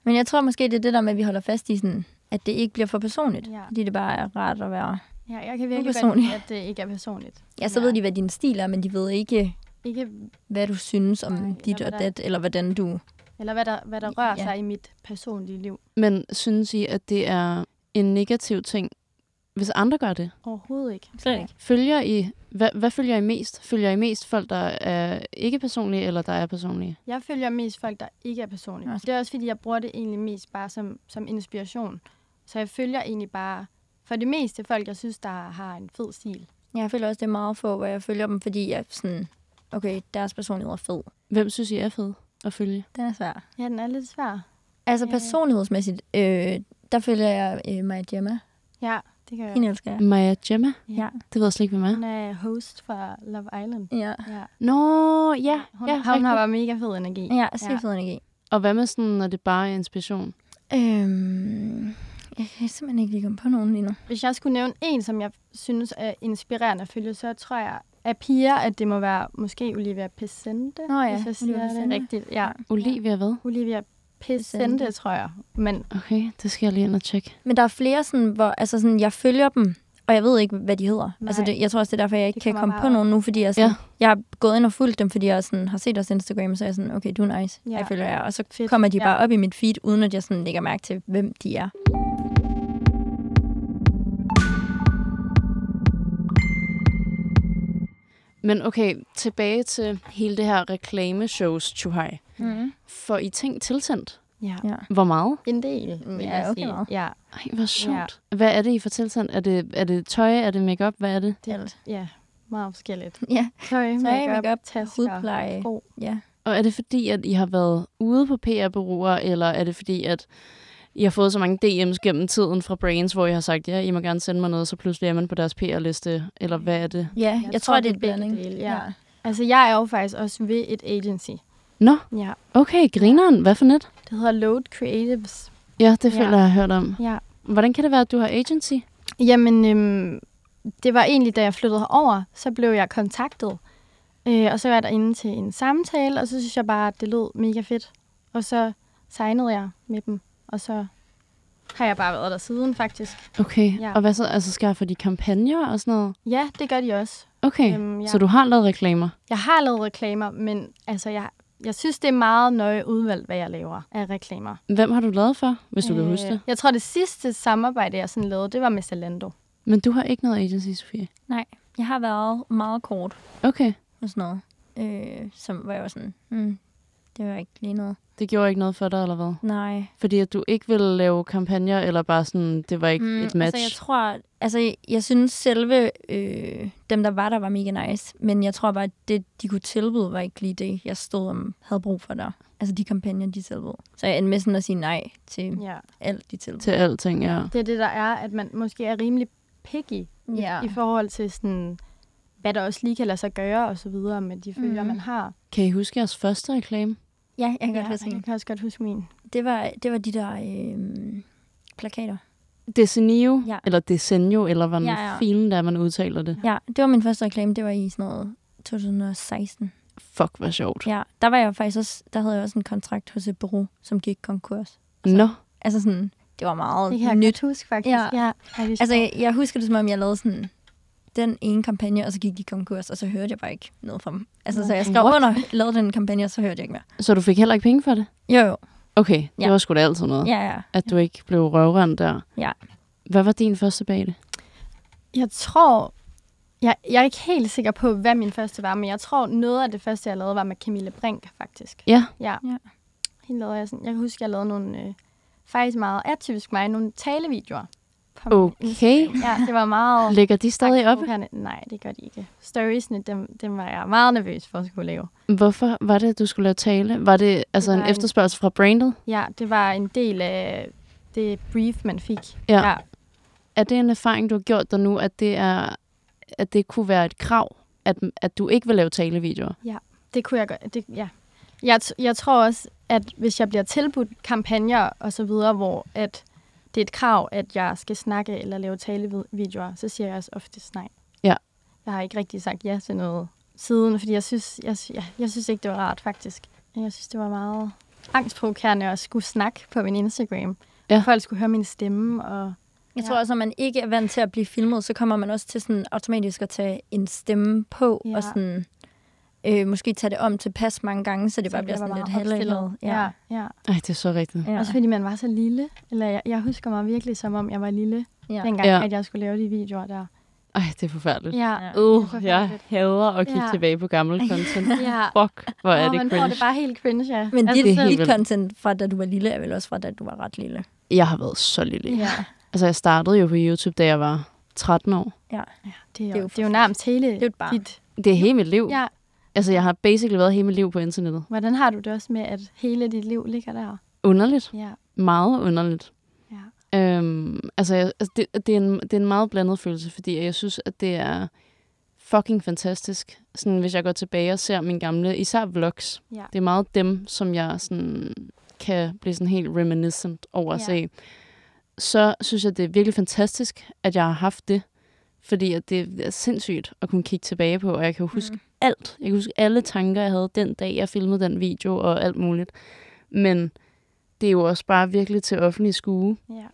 Men jeg tror måske, det er det der med, at vi holder fast i sådan, at det ikke bliver for personligt.
Ja.
Ja. Fordi det bare er rart at være...
ja, jeg kan virkelig godt
Upersonlig.
lide, at det ikke er personligt.
Ja, så ja. ved de, hvad din stil er, men de ved ikke,
Ikke,
hvad du synes om
Nej,
Nej, dit
eller
og
hvordan-
dat, eller hvordan du...
eller hvad der, hvad der rører ja.
Ja.
sig i mit personlige liv.
Men synes I, at det er en negativ ting, hvis andre gør det?
Overhovedet ikke.
Slet ikke.
Følger I, hvad, hvad følger I mest? Følger I mest folk, der er ikke personlige, eller der er personlige?
Jeg følger mest folk, der ikke er personlige.
Ja.
Det er også fordi, jeg bruger det egentlig mest bare som, som inspiration. Så jeg følger egentlig bare for det meste folk, jeg synes, der har en fed stil.
Jeg føler også, det er meget få, hvor jeg følger dem, fordi jeg sådan... Okay, deres personlighed er fed.
Hvem synes I er fed at følge?
Den er svær.
Ja, den er lidt svær.
Altså personlighedsmæssigt, øh, der følger jeg øh, Maja Gemma.
Ja, det kan jeg.
Hende elsker jeg.
Maja Gemma?
Ja.
Det ved jeg slet ikke, hvem er.
Hun er host for Love Island.
Ja,
Ja.
Nå, ja.
Hun,
ja
ja, hun har
rigtigt.
bare mega fed energi.
ja sygt fed energi.
Og hvad med sådan, når det bare er inspiration?
Øhm, jeg kan simpelthen ikke lige komme på nogen lige nu.
Hvis jeg skulle nævne en, som jeg synes er inspirerende at følge, så tror jeg af piger, at det må være måske Olivia Pesente,
Nå ja,
hvis jeg
Olivia
siger det
Pescente.
rigtigt. Ja,
Olivia hvad?
Olivia Pesente,
Pescente.
tror jeg. Men
Okay, det skal jeg lige ind og tjekke.
Men der er flere, sådan, hvor altså sådan, jeg følger dem, og jeg ved ikke, hvad de hedder.
Nej.
Altså, det, jeg tror også, det er derfor, jeg ikke
Det
kan
kommer
komme
bare
på
op.
nogen nu, fordi jeg, sådan,
Ja.
ja. jeg har gået ind og fulgt dem, fordi jeg sådan, har set deres Instagram, så er jeg sådan, okay, du er nice,
Ja.
ja. jeg følger jer. Og så
Fedt.
Fedt. kommer de
Ja.
ja. bare op i mit feed, uden at jeg sådan lægger mærke til, hvem de er.
Men okay, tilbage til hele det her reklameshows, Chuhai.
Mm.
Får I ting tilsendt?
Mm-hmm. ja,
Ja.
Hvor meget?
en del,
Mm,
vil
ja,
jeg
okay
sige.
meget.
Ja,
Ej, hvor sjovt. Ja. Hvad er det, I får tilsendt? Er det, er det tøj? Er det makeup? Hvad er det?
det er ja, meget forskelligt.
Ja,
Tøj, makeup,
makeup,
tasker,
hudpleje.
sko.
Ja.
Og er det fordi, at I har været ude på PR-bureauer, eller er det fordi, at I har fået så mange DM's gennem tiden fra Brains, hvor I har sagt, ja, I må gerne sende mig noget, så pludselig er man på deres PR-liste, eller hvad er det?
ja jeg, jeg tror, det er en
begge
blanding.
dele, ja. Altså, jeg er jo faktisk også ved et agency.
Nå,
Ja,
okay, grineren. Hvad for net?
det hedder Load Creatives.
Ja, det
Ja.
føler ja. jeg, jeg har hørt om.
Ja.
Hvordan kan det være, at du har agency?
Jamen, øhm, det var egentlig, da jeg flyttede herover, så blev jeg kontaktet. Øh, og så var jeg derinde til en samtale, og så synes jeg bare, at det lød mega fedt. Og så signede jeg med dem, og så har jeg bare været der siden, faktisk.
Okay, ja.
Ja.
og hvad så? Altså skaffer de kampagner og sådan noget?
Ja, det gør de også.
Okay,
Øhm,
ja.
ja.
så du har lavet reklamer?
Jeg har lavet reklamer, men altså, jeg, jeg synes, det er meget nøje udvalgt, hvad jeg laver af reklamer.
Hvem har du lavet for, hvis du øh. kan huske det?
Jeg tror, det sidste samarbejde, jeg sådan lavede, det var med Zalando.
Mm.
Men du har ikke noget agency, Sofie?
Nej, jeg har været meget kort
Okay,
og sådan noget. Øh, som var jeg var sådan, mm, det var ikke lige noget.
det gjorde ikke noget for dig, eller hvad?
Nej.
Fordi at du ikke ville lave kampagner, eller bare sådan, det var ikke mm, et match?
Altså, jeg tror, altså, jeg- jeg synes selve øh, dem, der var der, var mega nice. Men jeg tror bare, at det, de kunne tilbyde, var ikke lige det, jeg stod om, havde brug for der. Altså de kampagner, de tilbød. Så jeg endte med sådan at sige nej til ja.
Ja.
alt, de tilbød.
Til alting, ja.
Det er det, der er, at man måske er rimelig picky
Ja.
i forhold til sådan, hvad der også lige kan lade sig gøre og så videre med de følger, mm. man har.
Kan I huske jeres første reklame?
Ja, jeg kan godt huske
jeg
en.
kan også godt huske min.
det var, det var de der øh, plakater.
Desenio, ja.
Ja.
eller Desenio, eller hvordan ja,
Ja,
ja.
ja.
filen der, man udtaler det.
Ja, det var min første reklame. Det var i sådan noget 2016.
Fuck, hvor sjovt.
Ja, der var jeg faktisk også, der havde jeg også en kontrakt hos et bureau, som gik konkurs.
Ja. Nå,
Altså sådan, det var meget
Det kan jeg
nyt.
godt huske, faktisk.
Ja.
ja. Ej, det er
Altså, jeg, jeg husker det, som om jeg lavede sådan den ene kampagne, og så gik de konkurs, og så hørte jeg bare ikke noget fra dem. Altså, så jeg skrev
What?
under, lavede den kampagne, og så hørte jeg ikke mere.
så du fik heller ikke penge for det?
Jo, jo.
Okay, ja. det
Ja.
var sgu da altid noget.
Ja, ja.
At du ikke blev røvrendt der.
Ja.
Hvad var din første bane?
Jeg tror... Jeg, jeg er ikke helt sikker på, hvad min første var, men jeg tror, noget af det første, jeg lavede, var med Camille Brink, faktisk.
Ja.
Ja.
Ja.
Hende lavede jeg, sådan, jeg kan huske, jeg lavede nogle, øh, faktisk meget atypisk mig, nogle talevideoer. På min
Okay.
Instagram. Ja, det var meget...
Ligger de stadig oppe?
provokerende. Nej, det gør de ikke. Storiesne, dem, dem var jeg meget nervøs for at skulle lave.
Hvorfor var det, at du skulle lave tale? Var det altså
Det
en
var en-
efterspørgsel fra brandet?
Ja, det var en del af det brief, man fik.
Ja.
ja.
Er det en erfaring, du har gjort dig nu, at det, er, at det kunne være et krav, at, at du ikke vil lave talevideoer?
Det kunne jeg godt, det, ja. Jeg, t- jeg tror også, at hvis jeg bliver tilbudt kampagner og så videre, hvor at det er et krav, at jeg skal snakke eller lave talevideoer, så siger jeg også oftest nej.
Ja.
Jeg har ikke rigtig sagt ja til noget siden, fordi jeg synes, jeg, sy- ja, jeg synes ikke, det var rart faktisk. Jeg synes, det var meget angstprovokerende at skulle snakke på min Instagram.
Ja.
Ja. Folk skulle høre min stemme, og
Jeg tror også, at man ikke er vant til at blive filmet, så kommer man også til sådan automatisk at tage en stemme på,
Ja.
og sådan øh, måske tage det om tilpas mange gange, så det bare bliver
jeg var
sådan lidt
meget
halvældet.
opstillet. Ja. ja.
Ej, det er så rigtigt.
ja.
Også fordi man var så lille. Eller jeg, jeg husker mig virkelig, som om jeg var lille,
ja.
ja. dengang,
Ja.
ja. at jeg skulle lave de videoer der.
Ej, det er forfærdeligt.
Ja.
Uh,
Det er
jeg
forfærdeligt.
hader at kigge ja.
Ja.
tilbage på gammel content.
Ja.
Fuck, hvor er
Åh,
det
man får det
cringe.
bare helt cringe, ja. Altså,
Men dit,
helt
dit
vildt.
content fra da du var lille, er vel også fra da du var ret lille.
Jeg har været så lille.
ja.
Altså, jeg startede jo på YouTube, da jeg var 13 år.
Det, er
Det er
jo,
jo
det er jo nærmest hele det
er jo et barn.
dit...
Det er hele mit liv.
Ja.
Altså, jeg har basically været hele mit liv på internettet.
Hvordan har du det også med, at hele dit liv ligger der?
Underligt.
Ja.
Meget underligt.
Ja.
Øhm, altså, jeg, altså det, det, er en, det er en meget blandet følelse, fordi jeg synes, at det er fucking fantastisk. Sådan, hvis jeg går tilbage og ser mine gamle, især vlogs.
Ja.
Det er meget dem, som jeg sådan, kan blive sådan helt reminiscent over at
Ja.
se. Så synes jeg, det er virkelig fantastisk, at jeg har haft det. Fordi at det er sindssygt at kunne kigge tilbage på, og jeg kan jo huske mm. alt. Jeg kan huske alle tanker, jeg havde den dag, jeg filmede den video og alt muligt. Men det er jo også bare virkelig til offentlig skue.
ja.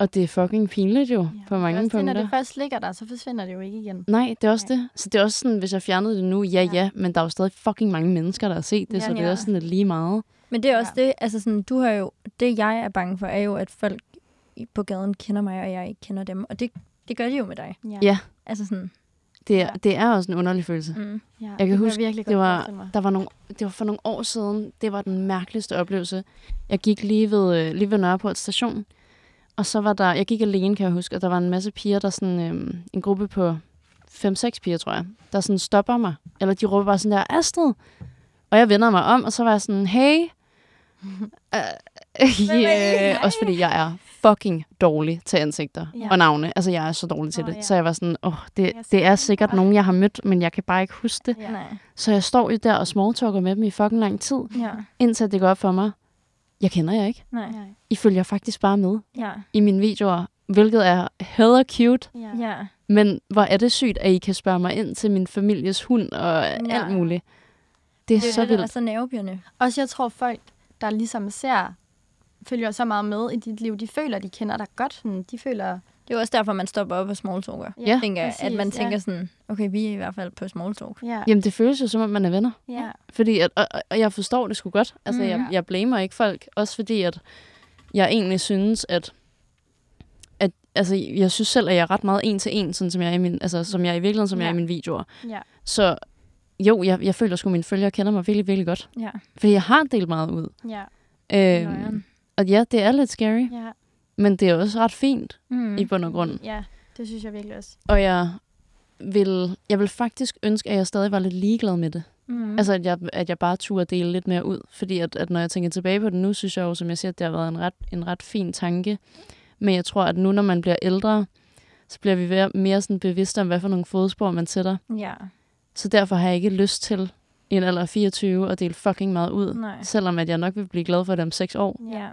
Og det er fucking pinligt jo,
ja.
ja, på mange
også det,
punkter.
Når det først ligger der, så forsvinder det jo ikke igen.
Nej, det er også det. Så det er også sådan, hvis jeg fjernede det nu, ja, ja,
Ja.
men der er jo stadig fucking mange mennesker, der har set det, ja,
Ja.
så det er
Ja.
også sådan lidt lige meget.
Men det er også ja. det, altså sådan, du har jo, det jeg er bange for, er jo, at folk i- på gaden kender mig, og jeg ikke kender dem. Og det, det gør de jo med dig.
Ja.
Ja.
Altså sådan,
Det er, ja. det er også en underlig følelse.
mm.
ja.
Jeg kan
det
huske,
jeg virkelig
det
godt
var,
forestille mig.
der var nogle, det var for nogle år siden, det var den mærkeligste oplevelse. Jeg gik lige ved, øh, lige ved Nørreport station, og så var der, jeg gik alene, kan jeg huske, og der var en masse piger, der sådan, øh, en gruppe på 5-6 piger, tror jeg, der sådan stopper mig, eller de råber bare sådan der, Astrid! Og jeg vender mig om, og så var jeg sådan, hey! Uh, yeah. Også fordi jeg er fucking dårlig til ansigter
Ja.
og navne. Altså, jeg er så dårlig til
Åh,
det.
ja.
Så jeg var sådan, åh, oh, det,
Jeg
det er
ser-
sikkert nogen, jeg har mødt, men jeg kan bare ikke huske det.
Ja.
nej.
Så jeg står jo der og smalltalker med dem i fucking lang tid,
Ja,
indtil det går op for mig. Jeg kender jer ikke.
nej.
Nej.
I følger faktisk bare med
Ja,
i mine videoer, hvilket er heller cute.
Ja.
ja.
Men hvor er det sygt, at I kan spørge mig ind til min families hund og ja. alt muligt. Det er
Det er altså-
så
det, der er
vildt.
så nervepirrende.
Også jeg tror folk, der ligesom ser følger så meget med i dit liv. De føler, de kender dig godt. Sådan. De føler...
Det er jo også derfor, man stopper op og smalltalker.
Ja,
Ja, tænker, jeg, at
præcis,
man
ja.
tænker sådan, okay, vi er i hvert fald på smalltalk.
Ja.
Jamen, det føles jo som om, man er venner.
ja.
Fordi at, og, og- og jeg forstår det sgu godt. Altså,
Mm.
jeg, jeg blamer ikke folk. Også fordi, at jeg egentlig synes, at, at altså, jeg synes selv, at jeg er ret meget en til en, sådan som jeg er i min, altså, som jeg er i virkeligheden, som ja. jeg er
Ja.
i mine videoer.
ja.
Så jo, jeg, jeg føler sgu, at mine følgere kender mig virkelig, virkelig godt.
Ja.
Fordi jeg har delt meget ud.
ja.
Øhm,
Nøjeren.
og ja, det er lidt scary,
ja.
men det er også ret fint
Mm.
mm. i bund og grund.
Ja, det synes jeg virkelig også.
Og jeg vil, jeg vil faktisk ønske, at jeg stadig var lidt ligeglad med det.
Mm.
Altså, at jeg, at jeg bare turde dele lidt mere ud. Fordi at, at når jeg tænker tilbage på det nu, synes jeg jo, som jeg siger, at det har været en ret, en ret fin tanke. Men jeg tror, at nu, når man bliver ældre, så bliver vi være- mere sådan bevidste om, hvad for nogle fodspor man sætter.
Ja.
Så derfor har jeg ikke lyst til i en alder af 24 at dele fucking meget ud.
Nej.
Selvom at jeg nok vil blive glad for det om 6 år.
Ja.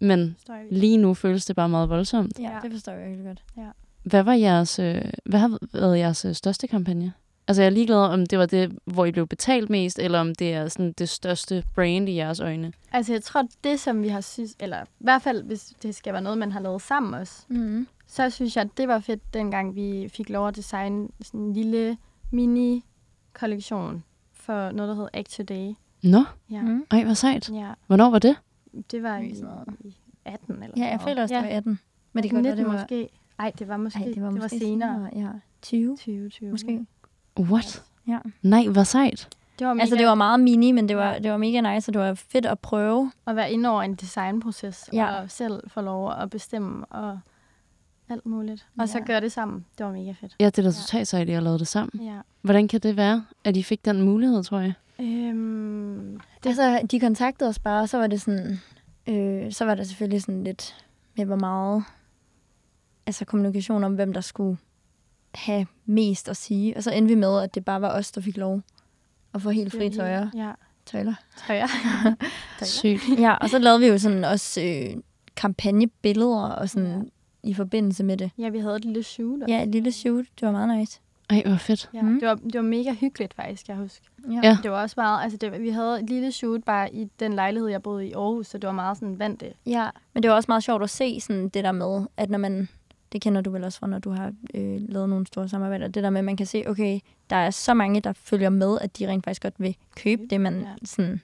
Men
Forstår jeg virkelig.
lige nu føles det bare meget voldsomt.
ja,
Ja.
det forstår jeg virkelig godt.
Hvad var jeres, øh, hvad har været jeres øh, største kampagne? Altså jeg er ligeglad om det var det, hvor I blev betalt mest, eller om det er sådan det største brand i jeres øjne.
Altså, jeg tror, det som vi har synes, eller i hvert fald, hvis det skal være noget, man har lavet sammen også,
Mm.
så synes jeg, at det var fedt, dengang vi fik lov at designe sådan en lille mini-kollektion for noget, der hedder Act Today.
Nå,
Ja,
Mm.
mm.
ej, hvor sejt.
ja
Hvornår var det?
det var i,
Mest noget.
i 18 eller
Ja, jeg føler også, det var 18. Men det kan
19
godt være, det var...
måske. Nej, det var måske,
Ej, det var,
det var
måske
senere.
Ja, 20
2020.
måske.
What?
Ja.
Nej, hvor sejt.
Det var mega,
Altså, det var meget mini, men det var, det var mega nice, og det var fedt at prøve.
at være inde over en designproces,
Ja.
ja. og selv få lov at bestemme og alt muligt. Og så
Ja.
gøre det sammen. Det var mega fedt.
Ja, det er da totalt sejt, at I har lavet det
Mm.
sammen.
Ja.
Hvordan kan det være, at I fik den mulighed, tror jeg?
Øhm,
Det. Altså, de kontaktede os bare, og så var det sådan... Øh, så var der selvfølgelig sådan lidt med, hvor meget altså kommunikation om, hvem der skulle have mest at sige. Og så endte vi med, at det bare var os, der fik lov at få helt fri tøjer.
Ja.
tøjler.
Tøjer.
Sygt.
Ja, og så lavede vi jo sådan også øh, kampagnebilleder og sådan ja. i forbindelse med det.
Ja, vi havde et lille shoot.
Ja, et lille shoot. Det var meget nice.
Ej, hvor fedt.
Ja,
Mm.
mm. det, var, det var mega hyggeligt faktisk, jeg husker.
Ja.
Det var også meget, altså det, var- vi havde et lille shoot bare i den lejlighed, jeg boede i Aarhus, så det var meget sådan vant det.
Ja, men det var også meget sjovt at se sådan det der med, at når man, det kender du vel også fra, når du har øh, lavet nogle store samarbejder, det der med, at man kan se, okay, der er så mange, der følger med, at de rent faktisk godt vil købe det, man
Ja.
sådan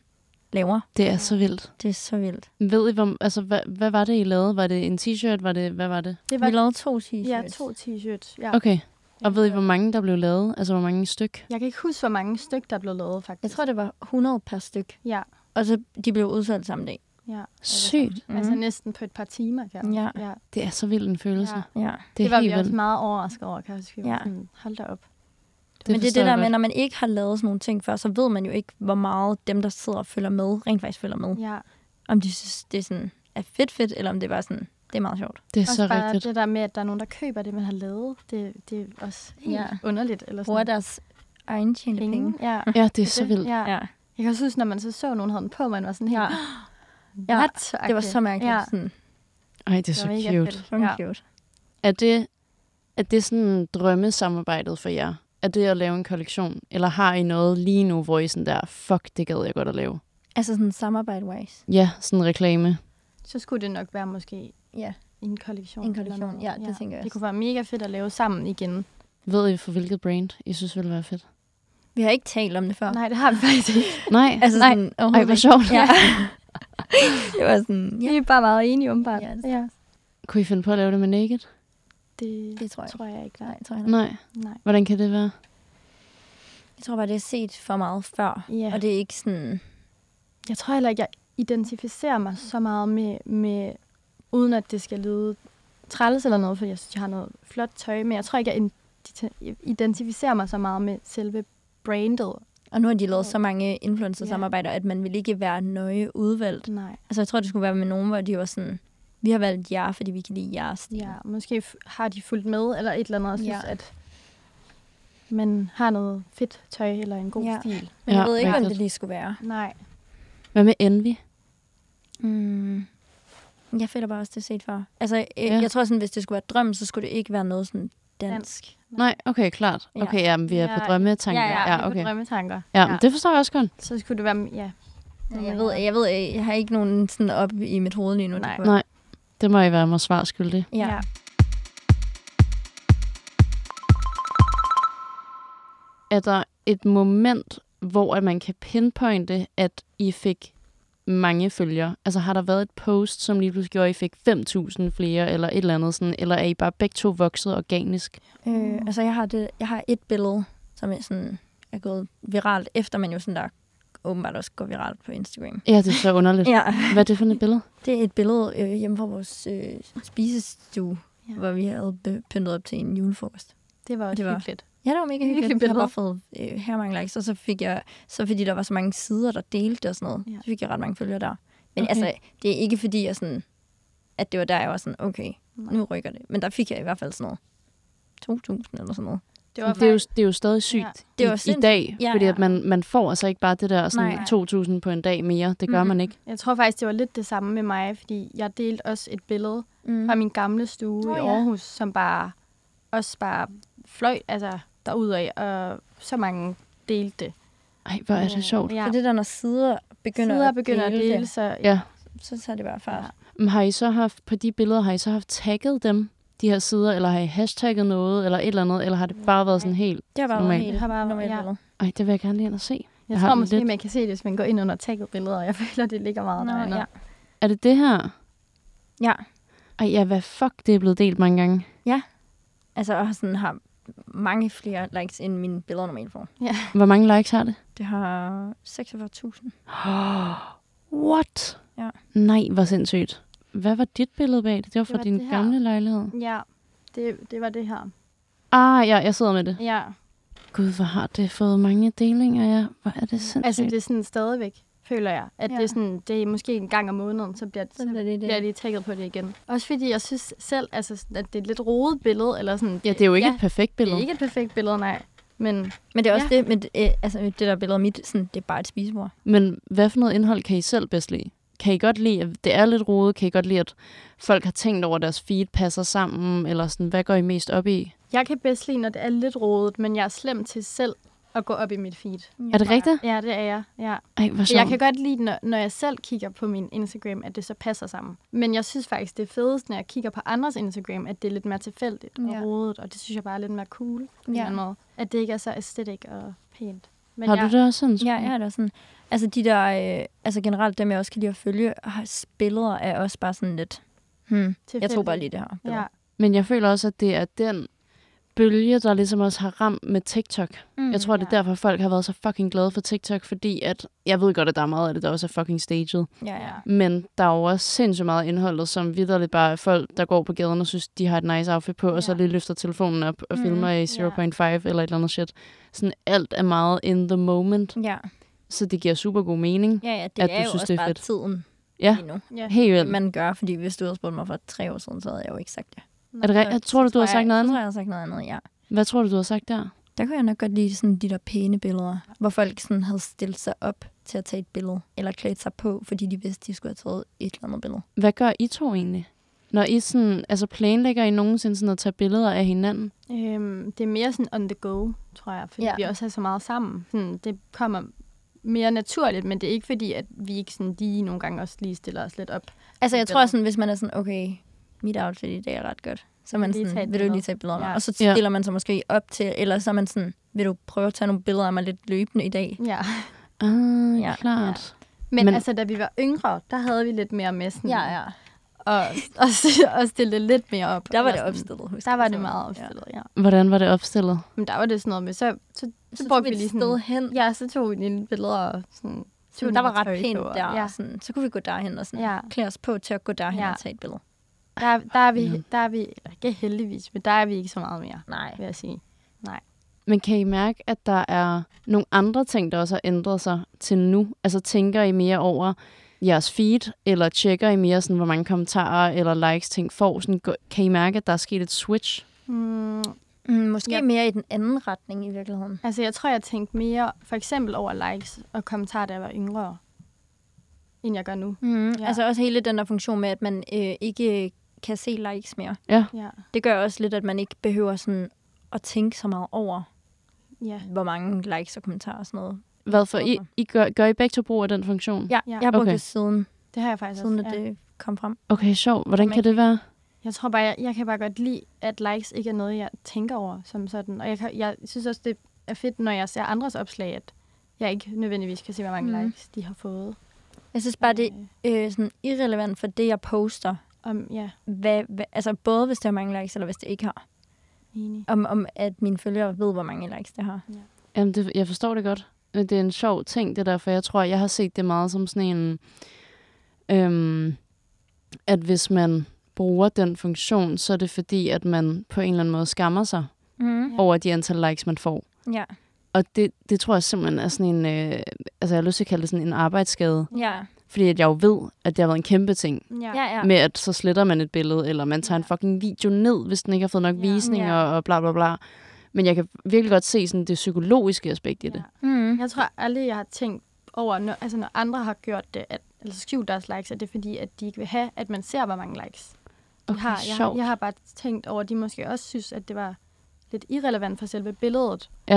laver.
Det er så vildt.
Det er så vildt.
Ved I, hvor, altså, hvad, hvad var det, I lavede? Var det en t-shirt? Var det, hvad var det?
Det
Vi
var
lavede to t-shirts.
ja, to t-shirts. Ja.
Okay. Og ved I, hvor mange der blev lavet? Altså, hvor mange styk?
Jeg kan ikke huske, hvor mange stykker der blev lavet, faktisk.
Jeg tror, det var 100 per styk.
Ja,
Og så de blev udsolgt samme dag.
ja.
Sygt.
Mm. Altså næsten på et par timer, kan jeg.
Ja.
ja.
Det er så vild en følelse. Ja.
Ja.
Ja.
Det,
Det
det
er
var vi
helt
også
vildt.
meget overrasket over, kan jeg huske. Vi var
Ja.
sådan, Hold da op.
Det
Men det er
forstår
det der
jeg
med,
godt.
når man ikke har lavet sådan nogle ting før, så ved man jo ikke, hvor meget dem, der sidder og følger med, rent faktisk følger med.
Ja.
Om de synes, det er, sådan, er fedt fedt, eller om det er bare sådan, det er meget sjovt.
Det er
Også
så
bare
rigtigt.
det der med, at der er nogen, der køber det, man har lavet. Det, det er også helt
Ja.
ja. underligt. Eller sådan.
Bruger deres egen tjente penge.
penge.
penge.
Ja.
Ja, det er så vildt.
Ja.
Ja.
Jeg kan også huske, når man så så, at nogen havde den på, man var sådan helt...
ja.
Ja.
ja.
What?
Det var så mærkeligt.
Ja.
Ja. Sådan,
Ej, det er
Det
så
var mega
cute.
fedt.
ja.
Ja.
cute.
Er det, er det sådan drømmesamarbejdet for jer? Er det at lave en kollektion? Eller har I noget lige nu, hvor I sådan der, fuck, det gad jeg godt at lave?
Altså sådan samarbejde-wise.
Ja, sådan en reklame.
Så skulle det nok være måske
Ja.
en kollektion.
En
eller
kollektion,
noget.
ja, det tænker jeg
Det
også.
kunne være mega fedt at lave sammen igen.
Ved I for hvilket brand, I synes ville være fedt?
Vi har ikke talt om det før.
Nej, det har vi faktisk ikke.
Nej,
Altså
nej.
sådan,
Ej,
overhovedet
hvor
ikke.
sjovt.
Ja. det var sådan, ja,
Vi er bare meget enige, åbenbart.
Ja, det-
ja. altså,
Kunne I finde på at lave det med Naked?
Det,
det tror jeg ikke.
tror jeg ikke.
Nej,
Nej.
tror jeg ikke.
Nej.
Nej.
Hvordan kan det være?
Jeg tror bare, det er set for meget før.
Ja.
Og det er ikke sådan,
Jeg tror heller ikke, jeg identificerer mig så meget med, med uden at det skal lyde træls eller noget, for jeg synes, jeg har noget flot tøj, men jeg tror ikke, jeg identi- identificerer mig så meget med selve brandet.
og nu har de lavet så mange influencer-samarbejder, at man vil ikke være nøje udvalgt.
Nej.
Altså, jeg tror, det skulle være med nogen, hvor de var sådan, vi har valgt jer, fordi vi kan lide jeres stil.
Ja, måske f- har de fulgt med, eller et eller andet, og synes,
Ja.
ja. at man har noget fedt tøj, eller en god
Ja.
ja. stil.
Men jeg
Ja,
ved ikke, om
rigtigt.
det lige skulle være.
Nej.
Hvad med Envy?
Mm. Jeg føler bare også, det er set for. Altså, jeg, ja.
Ja.
jeg tror sådan, hvis det skulle være drøm, så skulle det ikke være noget sådan dansk.
Dansk.
Nej, okay, klart.
Ja.
Okay, ja, men vi er på
Ja,
drømmetanker.
ja, ja, ja
okay.
drømmetanker.
Ja, men det forstår jeg også godt.
Så skulle det være, ja,
Jeg ved, jeg ved, øh, jeg har ikke nogen sådan op i mit hoved lige nu.
Nej.
derfor-
Nej, det må I være mig svar skyldig.
Ja.
Ja.
ja.
Er der et moment, hvor at man kan pinpointe, at I fik mange følgere? Altså har der været et post, som lige pludselig gjorde, at I fik 5.000 flere, eller et eller andet sådan, eller er I bare begge to vokset organisk?
Øh,
Mm.
altså, jeg har, det, jeg har et billede, som er, sådan, er gået viralt, efter man jo sådan der åbenbart også går viralt på Instagram.
Ja, det er så underligt.
Ja,
Hvad er det for et billede?
det er et billede øh, hjemme fra vores øh, spisestue,
Ja.
ja. hvor vi havde be- pyntet op til en julefrokost.
Det var også
Det
det
var-
var. hyggeligt.
Ja, det var mega
Virkelig
hyggeligt. Jeg har
billeder.
bare fået øh, her mange likes, og så fik jeg, så fordi der var så mange sider, der delte det og sådan noget,
Ja.
ja. så fik jeg ret mange følgere der.
Okay.
Men okay. altså, det er ikke fordi, jeg sådan, at det var der, jeg var sådan, okay, nu rykker det. Men der fik jeg i hvert fald sådan noget 2.000 eller sådan noget.
Det
Det er jo, det er jo stadig sygt
Ja.
Det var
i, i
sindssygt.
dag,
Ja,
fordi
ja.
at man, man får altså ikke bare det der sådan
Nej.
2.000 på en dag mere. Det gør
Mhm.
man ikke.
Jeg tror faktisk, det var lidt det samme med mig, fordi jeg delte også et billede
Mm.
fra min gamle stue
Nå,
oh, i
ja.
Aarhus, som bare også bare fløj altså, derudad, og så mange delte det. Øh,
Ej, hvor er det sjovt.
Ja.
Ja. Så det der, når sider begynder,
Sider begynder at dele,
det,
så
Ja.
så tager det bare fart.
Men har I så haft, på de billeder, har I så haft tagget dem, de her sider, eller har I hashtagget noget, eller et eller andet, eller har det bare været sådan helt,
Det har bare
Normalt.
været helt
Det har bare været-
normalt
ja.
billede.
ej, det vil jeg gerne lige ind og se.
jeg,
Jeg har
tror
den
måske,
lidt.
man kan se det, hvis man går ind under tagget billeder, og jeg føler, det ligger meget
Nå,
derinde.
ja.
Er det det her?
ja.
Ej, ja, hvad fuck, det er blevet delt mange gange.
Altså, og sådan har mange flere likes, end mine billeder normalt får.
Hvor mange likes har det?
Det har 46.000.
What?
Ja.
Nej, hvor sindssygt. Hvad var dit billede bag det? Det var fra
var
din
det her.
gamle lejlighed.
ja. Det, det var det her.
Ah, ja, jeg sidder med det.
Ja.
Gud, hvor har det fået mange delinger, ja. Hvor er det sindssygt.
Altså, det er sådan stadigvæk, føler jeg, at ja.
Ja.
det, er sådan, det er måske en gang om måneden, så bliver, så
bliver det det.
bliver de tagget på det igen. Også fordi jeg synes selv, altså, sådan, at det er et lidt rodet billede, eller sådan.
ja, det er jo ikke
ja,
et perfekt
det
billede.
er ikke et perfekt billede, nej. Men
Men det er også ja. det, men det, øh, altså, det der billede af mit, sådan, det er bare et spisebord.
Men hvad for noget indhold kan I selv bedst lide? Kan I godt lide, at det er lidt rodet? Kan I godt lide, at folk har tænkt over, at deres feed passer sammen? Eller sådan, hvad går I mest op i?
Jeg kan bedst lide, når det er lidt rodet, men jeg er slem til selv at gå op i mit feed.
Er det rigtigt?
Ja, det er jeg. Ja.
Ej, hvor sjovt.
Jeg kan godt lide, når, når jeg selv kigger på min Instagram, at det så passer sammen. Men jeg synes faktisk, det er fedest, når jeg kigger på andres Instagram, at det er lidt mere tilfældigt og
Ja.
rodet, og det synes jeg bare er lidt mere cool på en
Ja.
eller anden måde. At det ikke er så æstetik og pænt. Men
Har
jeg,
du det også sådan?
Ja, jeg har det også sådan. Altså, de der, øh, altså generelt dem, jeg også kan lide at følge, har billeder er også bare sådan lidt, hmm, jeg tror bare lige det her. billede.
Ja.
Men jeg føler også, at det er den bølge, der ligesom også har ramt med TikTok.
Mm,
Jeg tror, det er derfor, folk har været så fucking glade for TikTok, fordi at, jeg ved godt, at der er meget af det, der også er fucking staged.
Ja, ja.
Men der er jo også sindssygt meget indholdet, som vidderligt bare er folk, der går på gaden og synes, de har et nice outfit på, ja. og så
Ja.
lige løfter telefonen op og
Mhm,
filmer i 0.5 eller et eller andet shit. Sådan alt er meget in the moment,
Ja,
så det giver super god mening.
ja, ja det
At
er
du
jo
synes,
også
det er
bare
fedt.
tiden
Ja,
lige nu.
Ja.
helt
det,
vildt.
man gør, fordi hvis du havde spurgt mig for tre år siden, så havde jeg jo ikke sagt det.
Er det re- jeg tror du, du har sagt noget
Så
andet?
tror jeg, jeg har sagt noget andet, ja.
Hvad tror du, du har sagt der?
Der kunne jeg nok godt lide sådan de der pæne billeder, hvor folk sådan havde stillet sig op til at tage et billede, eller klædt sig på, fordi de vidste, de skulle have taget et eller andet billede.
Hvad gør I to egentlig? Når I sådan, altså planlægger I nogensinde sådan at tage billeder af hinanden?
Øhm, det er mere sådan on the go, tror jeg, fordi ja.
Ja.
vi også er så meget sammen. Sådan, det kommer mere naturligt, men det er ikke fordi, at vi ikke sådan lige nogle gange også lige stiller os lidt op.
Altså, jeg
Et
tror
billede.
sådan, hvis man er sådan, okay, mit outfit i dag er ret godt, så er man
Lige tage et
sådan, vil du
billede."
lige tage et billede af mig?
Ja.
Og så
Ja.
stiller man sig måske op til, eller så er man sådan, vil du prøve at tage nogle billeder af mig lidt løbende i dag?
Ja.
Ah, ja,
Ja,
klart.
Men,
Men-
men altså, da vi var yngre, der havde vi lidt mere med sådan,
ja.
Og, og, og stille det lidt mere op.
Der var
Eller
det
sådan.
opstillet, husker
Der
jeg.
var det
Så-
meget
Ja.
opstillet, ja.
Ja. Hvordan var det opstillet?
Men der var det sådan noget med, så, så, så,
Så
så
tog
brugte
vi
vi lige
et
sådan...
sted hen.
Ja, så tog vi lige billeder og sådan...
Så
tog
der var
nogle
ret
tøj på,
pænt
og-
der, ja.
Ja,
og sådan, så kunne vi gå derhen og sådan,
Ja.
ja. klæde os på til at gå derhen
Ja.
ja. og tage et billede.
der, der, er vi, der er vi, eller ikke heldigvis, men der er vi ikke så meget mere,
Nej.
vil jeg sige. Nej.
Men kan I mærke, at der er nogle andre ting, der også har ændret sig til nu? Altså tænker I mere over jeres feed, eller tjekker I mere, sådan, hvor mange kommentarer eller likes ting får? Sådan, gå- kan I mærke, at der er sket et switch?
Mm,
Mm, måske
Ja.
ja. mere i den anden retning i virkeligheden.
altså, jeg tror, jeg tænkte mere for eksempel over likes og kommentarer, da jeg var yngre, end jeg gør nu.
Mm,
Ja.
ja. Altså også hele den der funktion med, at man øh, ikke øh, kan se likes mere.
Ja,
Det gør også lidt, at man ikke behøver sådan at tænke så meget over,
ja.
hvor mange likes og kommentarer og sådan noget
Hvad for? I, I gør, gør I begge to brug af den funktion?
Mm. Ja, Altså,
Ja.
jeg har brugt
Okay.
okay. det siden,
Det har jeg faktisk
siden at
også. Ja.
det kom frem.
Okay, sjov. Hvordan kan det være?
Jeg tror bare, jeg, jeg kan bare godt lide, at likes ikke er noget, jeg tænker over som sådan. Og jeg, kan, jeg synes også, det er fedt, når jeg ser andres opslag, at jeg ikke nødvendigvis kan se, hvor mange
Mhm.
mm. likes de har fået.
Jeg synes bare, det er øh, sådan irrelevant for det, jeg poster.
Om, ja,
Hvad, hvad, altså både hvis det har mange likes, eller hvis det ikke har.
enig.
Om, om at mine følgere ved, hvor mange likes det har.
Jamen, det, jeg forstår det godt. Men det er en sjov ting, det der, for jeg tror, jeg har set det meget som sådan en... Øhm, at hvis man bruger den funktion, så er det fordi, at man på en eller anden måde skammer sig
Mm.
over de antal likes, man får.
Ja.
Og det, det tror jeg simpelthen er sådan en... Øh, altså, jeg har lyst til at kalde det sådan en arbejdsskade.
Ja.
Fordi at jeg jo ved, at det har været en kæmpe ting.
Ja, ja.
med, at så sletter man et billede, eller man tager en fucking video ned, hvis den ikke har fået nok
Ja.
visninger
Ja.
og bla bla bla. Men jeg kan virkelig godt se sådan det psykologiske aspekt i det.
Mm.
Jeg tror aldrig, jeg har tænkt over, når, altså når andre har gjort det, at, eller skjult deres likes, at det er fordi, at de ikke vil have, at man ser, hvor mange likes de
Okay,
har. Jeg, har-
sjovt.
jeg har bare tænkt over, at de måske også synes, at det var lidt irrelevant for selve billedet.
Ja,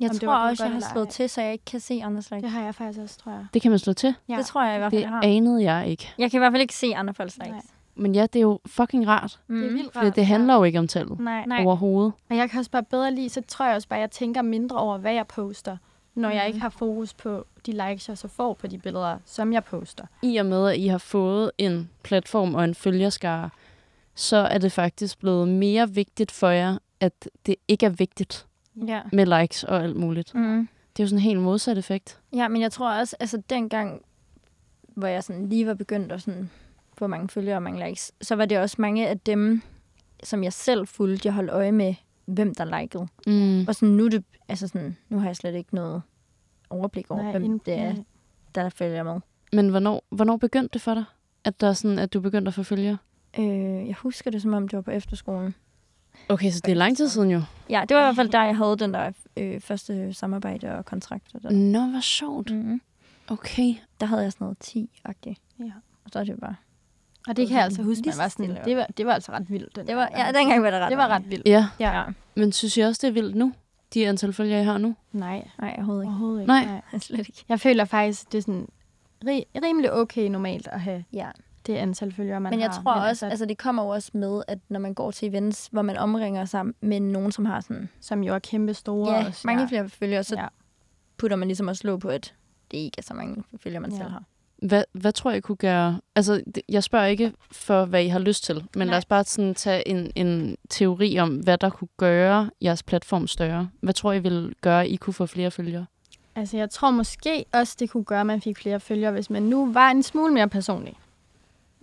Jeg
Om det
tror
var
også,
godt
jeg har
eller
slået
ej.
til, så jeg ikke kan se andres likes.
Det har jeg faktisk også, tror jeg.
det kan man slå til.
Ja.
Det tror jeg i hvert fald,
Det
jeg har.
anede jeg ikke.
Jeg kan i hvert fald ikke se andre folks likes.
Men ja, det er jo fucking rart,
Mm.
Det er vildt
for
rart.
det handler jo ikke om tallet
Nej.
Nej.
overhovedet.
Og jeg kan også bare bedre lide, så tror jeg også bare, at jeg tænker mindre over, hvad jeg poster, når
Mm.
jeg ikke har fokus på de likes, jeg så får på de billeder, som jeg poster.
I og med, at I har fået en platform og en følgerskare, så er det faktisk blevet mere vigtigt for jer, at det ikke er vigtigt
Ja.
med likes og alt muligt.
Mm-hmm.
Mm.
Det er jo sådan en helt modsat effekt.
Ja, men jeg tror også, altså dengang, hvor jeg sådan lige var begyndt at sådan få mange følgere og mange likes, så var det også mange af dem, som jeg selv fulgte, jeg holdt øje med, hvem der likede.
Mm.
Og sådan nu, er det, altså sådan, nu har jeg slet ikke noget overblik over, Nej, hvem
ind-
det er,
nej.
der følger med.
Men hvornår, hvornår begyndte det for dig, at, der er sådan, at du begyndte at få følgere?
Øh, jeg husker det, som om det var på efterskolen.
Okay, så det er lang tid siden jo.
Ja, det var i hvert fald der, jeg havde den der øh, første samarbejde og kontrakt. Og der.
Nå, hvor
Mm.
sjovt.
Mm-hmm.
Okay.
der havde jeg sådan noget 10-agtigt.
Ja.
Og så er det bare...
Og det kan jeg altså huske,
Lige
man var
så
sådan,
stille og
det var, det var altså ret vildt. Den
Det var,
gang.
ja, dengang var det ret
det var
mange.
ret vildt.
Ja,
Ja.
Ja.
men synes jeg også, det er vildt nu? De antal følgere, jeg har nu?
Nej,
Nej, overhovedet ikke.
overhovedet ikke.
Nej.
Slet ikke.
Jeg føler faktisk, det er sådan ri- rimelig okay normalt at have
Ja.
det antal følgere, man
Men jeg
har.
tror også, altså det kommer jo også med, at når man går til events, hvor man omringer sig med nogen, som har sådan
som jo er kæmpe store.
ja,
også,
mange flere følgere, så
Ja.
putter man ligesom også lå på, at det ikke er så mange følgere, man
Ja.
selv har.
Hvad, hvad tror jeg kunne gøre... Altså, det- jeg spørger ikke for, hvad I har lyst til, men Nej. lad os bare sådan tage en, en teori om, hvad der kunne gøre jeres platform større. Hvad tror I ville gøre, at I kunne få flere følgere?
Altså, jeg tror måske også, det kunne gøre, at man fik flere følgere, hvis man nu var en smule mere personlig.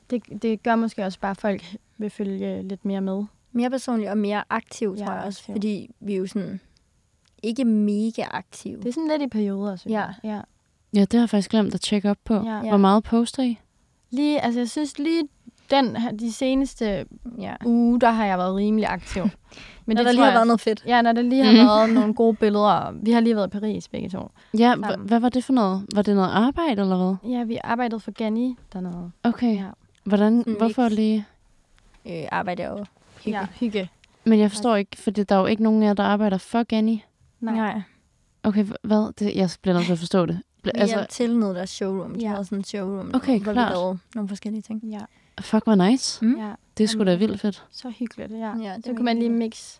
Det, det gør måske også bare, at folk vil følge lidt mere med.
Mere personligt og mere aktiv,
Ja,
tror jeg også,
aktiv.
fordi vi er jo sådan ikke mega aktive.
Det er sådan lidt i perioder, synes
Ja.
jeg. Ja.
Ja, det har jeg faktisk glemt at tjekke op på.
Ja.
Hvor meget poster I?
Lige, altså, jeg synes lige den her, de seneste
Ja.
uge, der har jeg været rimelig aktiv. Men
Men når
det
der
tror
lige har
jeg
været
også-
noget fedt.
Ja, når der lige har
Mhm.
været nogle gode billeder. Vi har lige været i Paris begge to.
Ja,
Sammen.
hva- hvad var det for noget? Var det noget arbejde, eller hvad?
Ja, vi arbejdede for Gani dernede.
Okay.
Ja.
Hvordan,
Sådan
hvorfor
mix.
lige...
Øh, arbejder jeg jo. Hygge.
Ja, hygge.
Men jeg forstår ikke, for der er jo ikke nogen af jer, der arbejder for Ganni.
Nej.
Nej.
Okay, h- hvad? Det, jeg bliver nødt til at forstå det. Bl-
Vi altså,
altså,
hjalp til noget der showroom. De
Ja.
ja. havde sådan en showroom,
Okay,
hvor
klart.
vi lavede nogle forskellige ting.
Ja,
fuck, hvor nice.
Mm.
ja.
Det skulle sgu da vildt fedt.
Så hyggeligt, ja.
Ja, det
så
var
kunne man lige
hyggeligt.
mix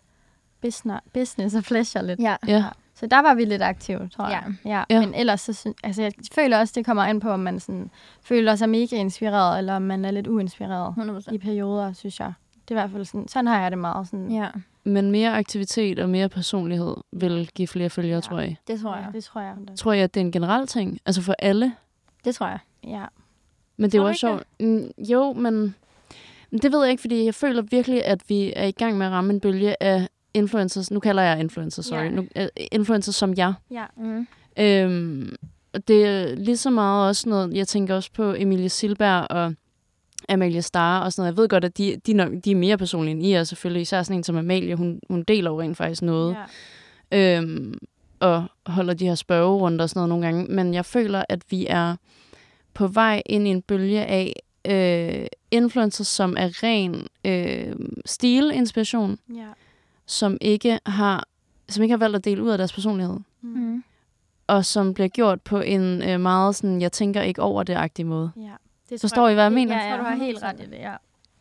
business, business og flasher lidt.
Ja.
Ja.
Så der var vi lidt aktive, tror jeg. Ja. ja.
Ja.
Men ellers, så synes, altså, jeg føler også, det kommer an på, om man sådan, føler sig mega inspireret, eller om man er lidt uinspireret
100%.
i perioder, synes jeg. Det er i hvert fald sådan, sådan har jeg det meget. Sådan,
Ja,
Men mere aktivitet og mere personlighed vil give flere følgere,
Ja.
ja. tror jeg.
det tror jeg.
det tror jeg.
Tror jeg, at det er en generel ting? Altså for alle?
Det tror jeg.
Ja.
Men det er jo
Tror du
også sjovt.
ikke
Mm, jo, men men det ved jeg ikke, fordi jeg føler virkelig, at vi er i gang med at ramme en bølge af influencers. Nu kalder jeg influencers, sorry.
Ja.
Ja. Nu, uh, influencers som jeg.
Ja.
Mm.
Øhm, og det er lige så meget også noget, jeg tænker også på Emilie Silberg og Amalie Star og sådan noget. Jeg ved godt, at de, de, er nok- de er mere personlige end I er selvfølgelig. Især sådan en som Amalie, hun, hun deler jo rent faktisk noget.
ja.
Ja. Øhm, og holder de her spørgerunder og sådan noget nogle gange. Men jeg føler, at vi er på vej ind i en bølge af øh, influencers, som er ren øh, stilinspiration,
ja.
som ikke har som ikke har valgt at dele ud af deres personlighed.
Mm.
og som bliver gjort på en øh, meget sådan, jeg tænker ikke over det-agtig måde.
Ja. Det
Forstår I, hvad jeg mener?
Ja, jeg tror, du har helt ret i det, ja.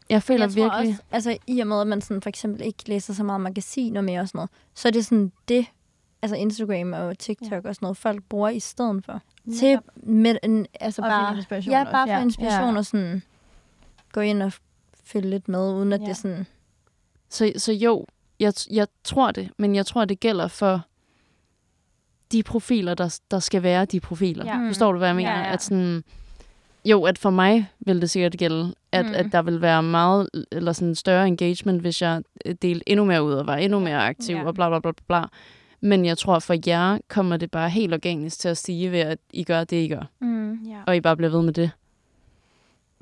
Jeg føler
jeg tror
virkelig...
Også, altså, i og med, at man sådan, for eksempel ikke læser så meget magasiner mere og sådan noget, så er det sådan det, altså Instagram og TikTok ja. og sådan noget, folk bruger i stedet for. Til med en, altså
Og
bare,
finde inspiration
ja,
også,
bare for
ja.
inspiration
Ja.
og sådan gå ind og følge lidt med, uden at ja.
Ja.
det sådan...
Så, så jo, jeg, jeg tror det, men jeg tror, det gælder for de profiler, der, der skal være de profiler.
Ja.
Mm.
Ja. Forstår du, hvad jeg mener?
Ja, ja.
At sådan, jo, at for mig vil det sikkert gælde, at,
Mm.
mm. at der vil være meget, eller sådan større engagement, hvis jeg øh, delte endnu mere ud og var endnu mere aktiv,
Ja.
ja. og bla bla bla bla. bla. Men jeg tror, for jer kommer det bare helt organisk til at stige ved, at I gør det, I gør.
Mm.
ja.
Og I bare bliver ved med det.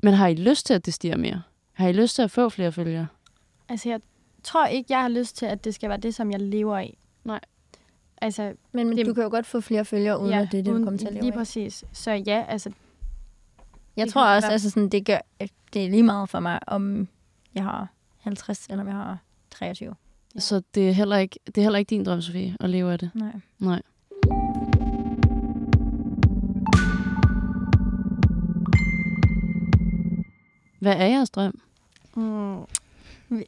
Men har I lyst til, at det stiger mere? Har I lyst til at få flere følgere?
Altså, jeg tror ikke, jeg har lyst til, at det skal være det, som jeg lever af.
Nej.
Altså,
Men, men
Det-
du kan jo godt få flere følgere, uden ja, at det er det, du
uden-
kommer til at leve
Lige
af.
præcis. Så ja, altså,
Jeg
Det
tror
kan
også,
være.
altså sådan, det, gør, det er lige meget for mig, om jeg har 50 eller om jeg har 23.
Ja. Så det er, heller ikke, det er heller ikke din drøm, Sofie, at leve af det?
Nej.
Nej. Hvad er jeres drøm?
mm,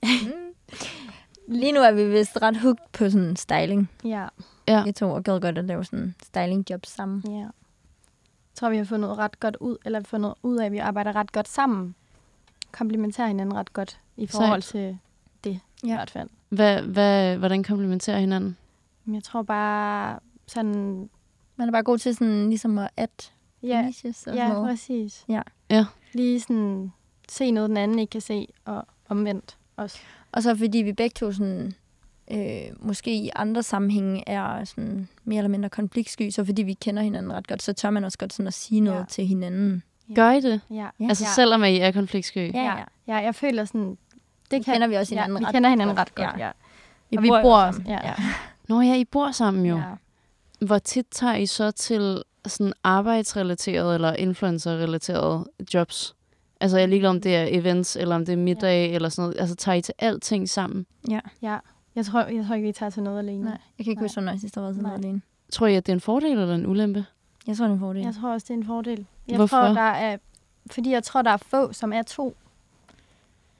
Lige nu er vi vist ret hooked på sådan styling.
ja,
Ja.
Jeg to og gad godt at lave sådan styling jobs sammen.
ja. Jeg tror, vi har fundet ret godt ud, eller fundet ud af, at vi arbejder ret godt sammen. Komplementerer hinanden ret godt i
Sejt.
forhold til det, ja. i
Ja.
hvert fald.
Hvad, hvad, hvordan komplementerer hinanden?
Men jeg tror bare sådan...
Man er bare god til sådan ligesom at at
Ja,
finishes og sådan
ja
noget.
præcis.
Ja.
Ja.
Lige sådan se noget, den anden ikke kan se, og omvendt også.
Og så fordi vi begge to sådan, øh, måske i andre sammenhænge er sådan mere eller mindre konfliktsky, så fordi vi kender hinanden ret godt, så tør man også godt sådan at sige noget
Ja.
til hinanden.
Gør I det?
Ja.
Ja.
Altså
ja.
selvom at I er konfliktsky?
Ja,
Ja,
ja.
ja. ja jeg føler sådan...
Det kan, kender vi også hinanden
ja, vi
ret
kender hinanden
godt.
ret godt, ja.
Vi
Og vi
bor,
bor
jo
også-
sammen.
ja.
Nå ja, I bor sammen jo. Ja.
Ja.
Hvor tit tager I så til sådan arbejdsrelaterede eller influencer-relaterede jobs? Altså jeg er ligeglad, om det er events, eller om det er middag, ja. eller sådan noget. Altså tager I til alting sammen?
ja. Jeg tror, jeg tror ikke, vi tager til noget alene.
Nej, jeg kan ikke
Nej.
huske, hvornår jeg sidst har været sådan
Nej.
noget alene.
Tror I, at det er en fordel eller en ulempe?
Jeg tror, det er en fordel.
Jeg tror også, det er en fordel. Jeg
Hvorfor?
Tror, der er, fordi jeg tror, der er få, som er to.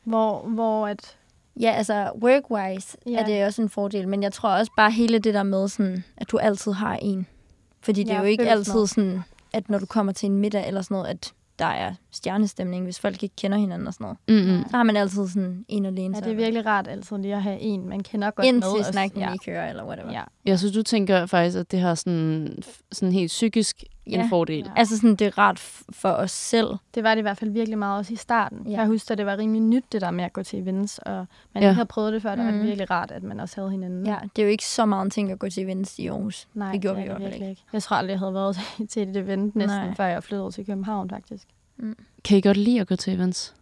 Hvor, hvor at...
Ja, altså workwise ja.
Ja.
er det også en fordel, men jeg tror også bare hele det der med, sådan, at du altid har en. Fordi det
Ja,
er jo ikke
følelsen
altid
også.
sådan, at når du kommer til en middag eller sådan noget, at der er stjernestemning, hvis folk ikke kender hinanden og sådan noget.
Mm-hmm.
Så har man altid sådan en og alene.
Ja, det er virkelig rart altid lige at have en, man kender godt
ind
med.
til
og-
snakken ja.
ja.
I kører, eller whatever. Ja.
ja.
Jeg synes, du tænker faktisk, at det har sådan, sådan helt psykisk ja.
Ja.
en fordel.
Ja.
Altså sådan, det er rart f- for os selv.
Det var det i hvert fald virkelig meget også i starten.
Ja.
Ja. Jeg husker, at det var rimelig nyt, det der med at gå til events, og man
Ja.
ja. ikke havde prøvet det før, der var det
Mhm.
virkelig rart, at man også havde hinanden.
Ja, det er jo ikke så meget en ting at gå til events i Aarhus.
Nej,
det gjorde vi
er
i hvert fald
virkelig
ikke.
Jeg tror aldrig, jeg havde været til- til et event næsten,
Nej.
Nej. før jeg flyttede til København, faktisk.
Kan I godt lide at gå til events?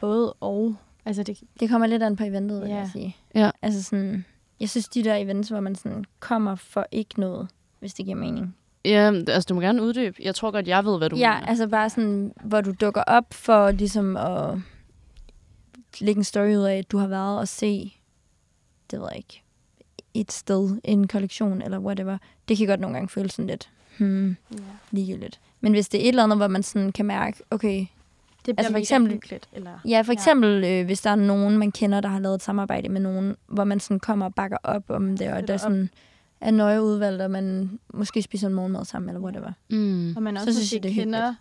Både og. Altså, det,
Det kommer lidt an på eventet, vil
Ja.
jeg sige.
Ja.
Altså sådan, jeg synes, de der events, hvor man sådan kommer for ikke noget, hvis det giver mening.
Ja, altså du må gerne uddybe. Jeg tror godt, jeg ved, hvad du
ja,
mener.
altså bare sådan, hvor du dukker op for ligesom at lægge en story ud af, at du har været og se, det ved jeg ikke, et sted, en kollektion eller whatever. Det kan godt nogle gange føles sådan lidt, hmm,
ja.
ligegyldigt. Men hvis det er et eller andet, hvor man sådan kan mærke, okay,
det bliver
Altså, for
mega
eksempel-
hyggeligt. Eller,
Ja, for eksempel, ja. Øh, hvis der er nogen, man kender, der har lavet et samarbejde med nogen, hvor man sådan kommer og bakker op om det, og
Støtter
der
op.
sådan er nøje udvalgt, og man måske spiser en morgenmad sammen, eller whatever.
Mm.
Og man
Så
også
synes jeg,
måske
det er
kender...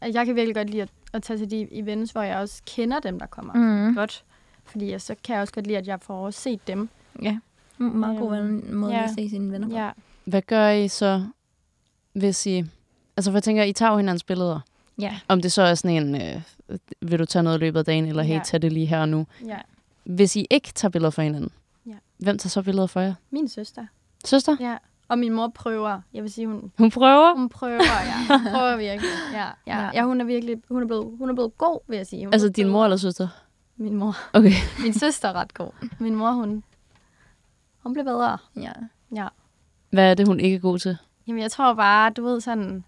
At jeg kan virkelig godt lide at, at tage til de events, hvor jeg også kender dem, der kommer.
Mm.
Godt. Fordi jeg, så kan jeg også godt lide, at jeg får også set dem.
Ja. Mm, Meget god
Øhm,
ven- måde
ja.
at se sine venner på.
Ja.
Hvad gør I så, hvis I... Altså, for jeg tænker, I tager jo hinandens billeder.
Ja.
Om det så er sådan en, øh, vil du tage noget i løbet af dagen, eller hey,
Ja.
tag det lige her og nu.
ja.
Hvis I ikke tager billeder for hinanden,
Ja.
hvem tager så billeder for jer?
Min søster.
Søster?
Ja. Og min mor prøver. Jeg vil sige, hun,
Hun prøver.
hun prøver, ja. Hun prøver virkelig. Ja, ja.
Ja.
ja. ja hun er virkelig hun er blevet, hun er blevet god, vil jeg sige. Hun er
Altså,
blevet
din
bedre.
mor eller søster?
Min mor.
Okay.
Min søster er ret god. Min mor, hun, hun blev bedre.
Ja.
Ja.
Hvad er det, hun ikke er god til?
Jamen, jeg tror bare, du ved sådan...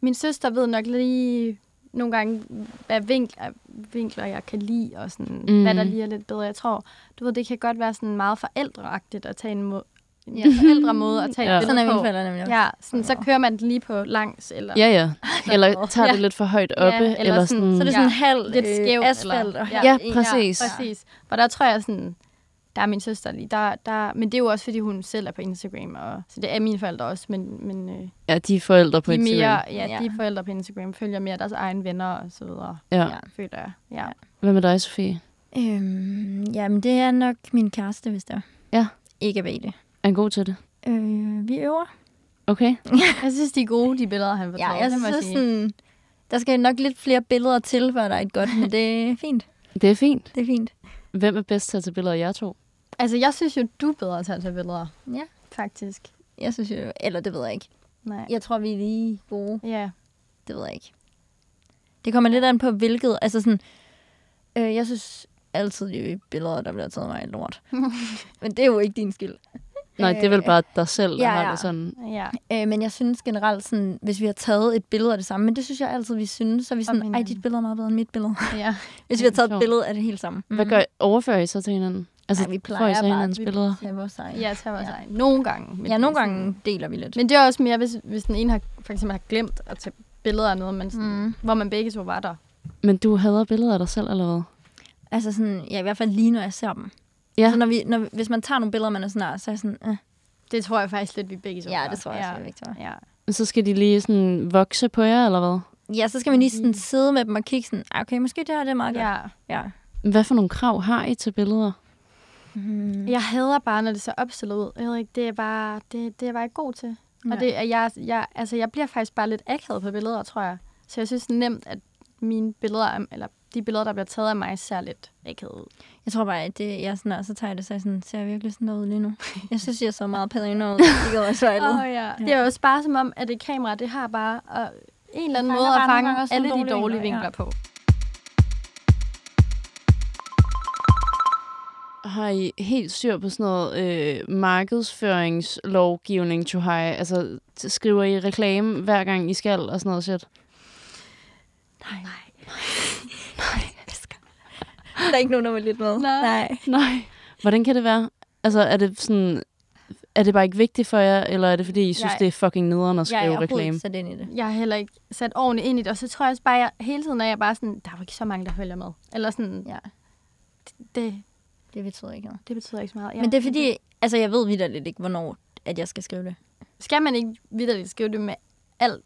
Min søster ved nok lige nogle gange, hvad vinkler, vinkler jeg kan lide, og sådan,
Mm.
mm. hvad der lige er lidt bedre. Jeg tror, du ved, det kan godt være sådan meget forældreagtigt at tage en, mo- en forældre måde at tage
Ja.
ja.
Sådan er mine
på.
forældre nemlig. også.
Ja, sådan, så kører man den lige på langs, eller
Ja, ja. Eller tager det
Ja.
lidt for højt oppe.
eller
Ja, eller
sådan-
sådan,
Så er det
Ja.
sådan en halv
lidt skævt.
øh, asfalt. Og
eller,
Ja, præcis.
Ja, præcis. For der tror jeg sådan, der er min søster lige, der, der, men det er jo også, fordi hun selv er på Instagram, og, så det er mine forældre også, men, men øh,
ja, de er forældre på
de, er
Instagram.
mere, ja,
Ja.
de forældre på Instagram følger mere deres egne venner og så videre,
Ja.
Ja.
føler jeg. Ja.
Hvad med dig, Sofie?
Øhm, jamen, det er nok min kæreste, hvis det er.
Ja.
Ikke at være i det.
Er han god til det?
Øh, vi øver.
Okay.
Jeg synes, de er gode, de billeder, han får
Ja,
taget,
jeg
det må
synes
sige.
sådan, der skal nok lidt flere billeder til, før der er et godt, men det er fint.
Det er fint.
Det er fint.
Hvem er bedst til at tage billeder af jer to?
Altså, jeg synes jo, du er bedre til at tage billeder.
Ja.
Faktisk.
Jeg synes jo, eller det ved jeg ikke.
Nej.
Jeg tror, vi er lige gode.
Ja.
Det ved jeg ikke. Det kommer lidt an på, hvilket... Altså sådan... Øh, jeg synes altid, de billeder, der bliver taget af mig, er lort. men det er jo ikke din skyld.
Nej, det er vel
Øh,
bare dig selv, der
ja,
har
ja.
det sådan.
Ja.
Øh, men jeg synes generelt, sådan, hvis vi har taget et billede af det samme, men det synes jeg altid, vi synes, så er vi
Om
sådan, ej, dit
hinanden.
billede er meget bedre end mit billede.
ja.
hvis vi har taget
sjovt.
et billede af det hele samme.
Hvad gør I? Overfører I så til hinanden? Altså,
Mm. Ej, vi plejer
får I så
bare-
hinandens
vi-
billeder?
Ja, vores egen.
Ja, tager vores egen. Nogle gange. men
ja,
det er
nogle
sådan-
gange deler vi lidt.
Men det er også mere, hvis, hvis den ene har, for eksempel har glemt at tage billeder af noget, men sådan, mm. hvor man begge to var der.
Men du hader billeder af dig selv, eller hvad?
Altså sådan, ja, i hvert fald lige når jeg ser dem.
Ja.
Så når vi, når, vi- hvis man tager nogle billeder, man er sådan, "Ah," så er jeg sådan, eh.
Det tror jeg faktisk lidt, vi begge to
ja,
var.
det tror jeg også, ja. Victor.
Ja.
Så skal de lige sådan vokse på jer, eller hvad?
Ja, så skal man lige sådan sidde med dem og kigge sådan, "Ah, okay, måske det her det er meget godt.
Mm. ja.
ja.
Hvad for nogle krav har I til billeder?
Mm.
Jeg hader bare, når det ser opstillet ud. Jeg ved ikke, det er bare, det, det er jeg bare ikke god til. Og det, er jeg, jeg, altså, jeg bliver faktisk bare lidt akavet på billeder, tror jeg. Så jeg synes nemt, at mine billeder, er- eller de billeder, der bliver taget af mig, ser lidt akavet ud.
Jeg tror bare, at det, jeg sådan, og så tager jeg det, så er jeg sådan, ser jeg virkelig sådan der ud lige nu? Jeg synes, jeg så meget pædere ud, det går også
Åh
oh,
oh, ja. Det er jo også bare som om, at det kamera, det har bare øh, en eller anden
fanger
måde at
bare nogle gange
fange
også
alle
nogle
de
dårlige
dårlige
vinkler,
vinkler på.
Har I helt styr på sådan noget øh, markedsføringslovgivning, to high? Altså, t- skriver I reklame hver gang I skal, og sådan noget shit?
Nej. Nej. jeg elsker det. Der er ikke nogen, der vil lidt med.
Nej.
Nej. Hvordan kan det være? Altså, er det sådan... Er det bare ikke vigtigt for jer, eller er det fordi, I synes,
Jeg-
det er fucking nederen at
Jeg
skrive
er overhovedet
reklame?
ikke sat ind i det.
Jeg har heller ikke sat ordentligt ind i det, og så tror jeg også bare, at jeg, hele tiden er jeg bare sådan, der er jo ikke så mange, der følger med. Eller sådan,
Ja,
det,
det betyder ikke noget.
det betyder ikke så meget. Ja.
Men det er fordi, altså jeg ved vidderligt ikke, hvornår at jeg skal skrive det.
Skal man ikke vidderligt skrive det med alt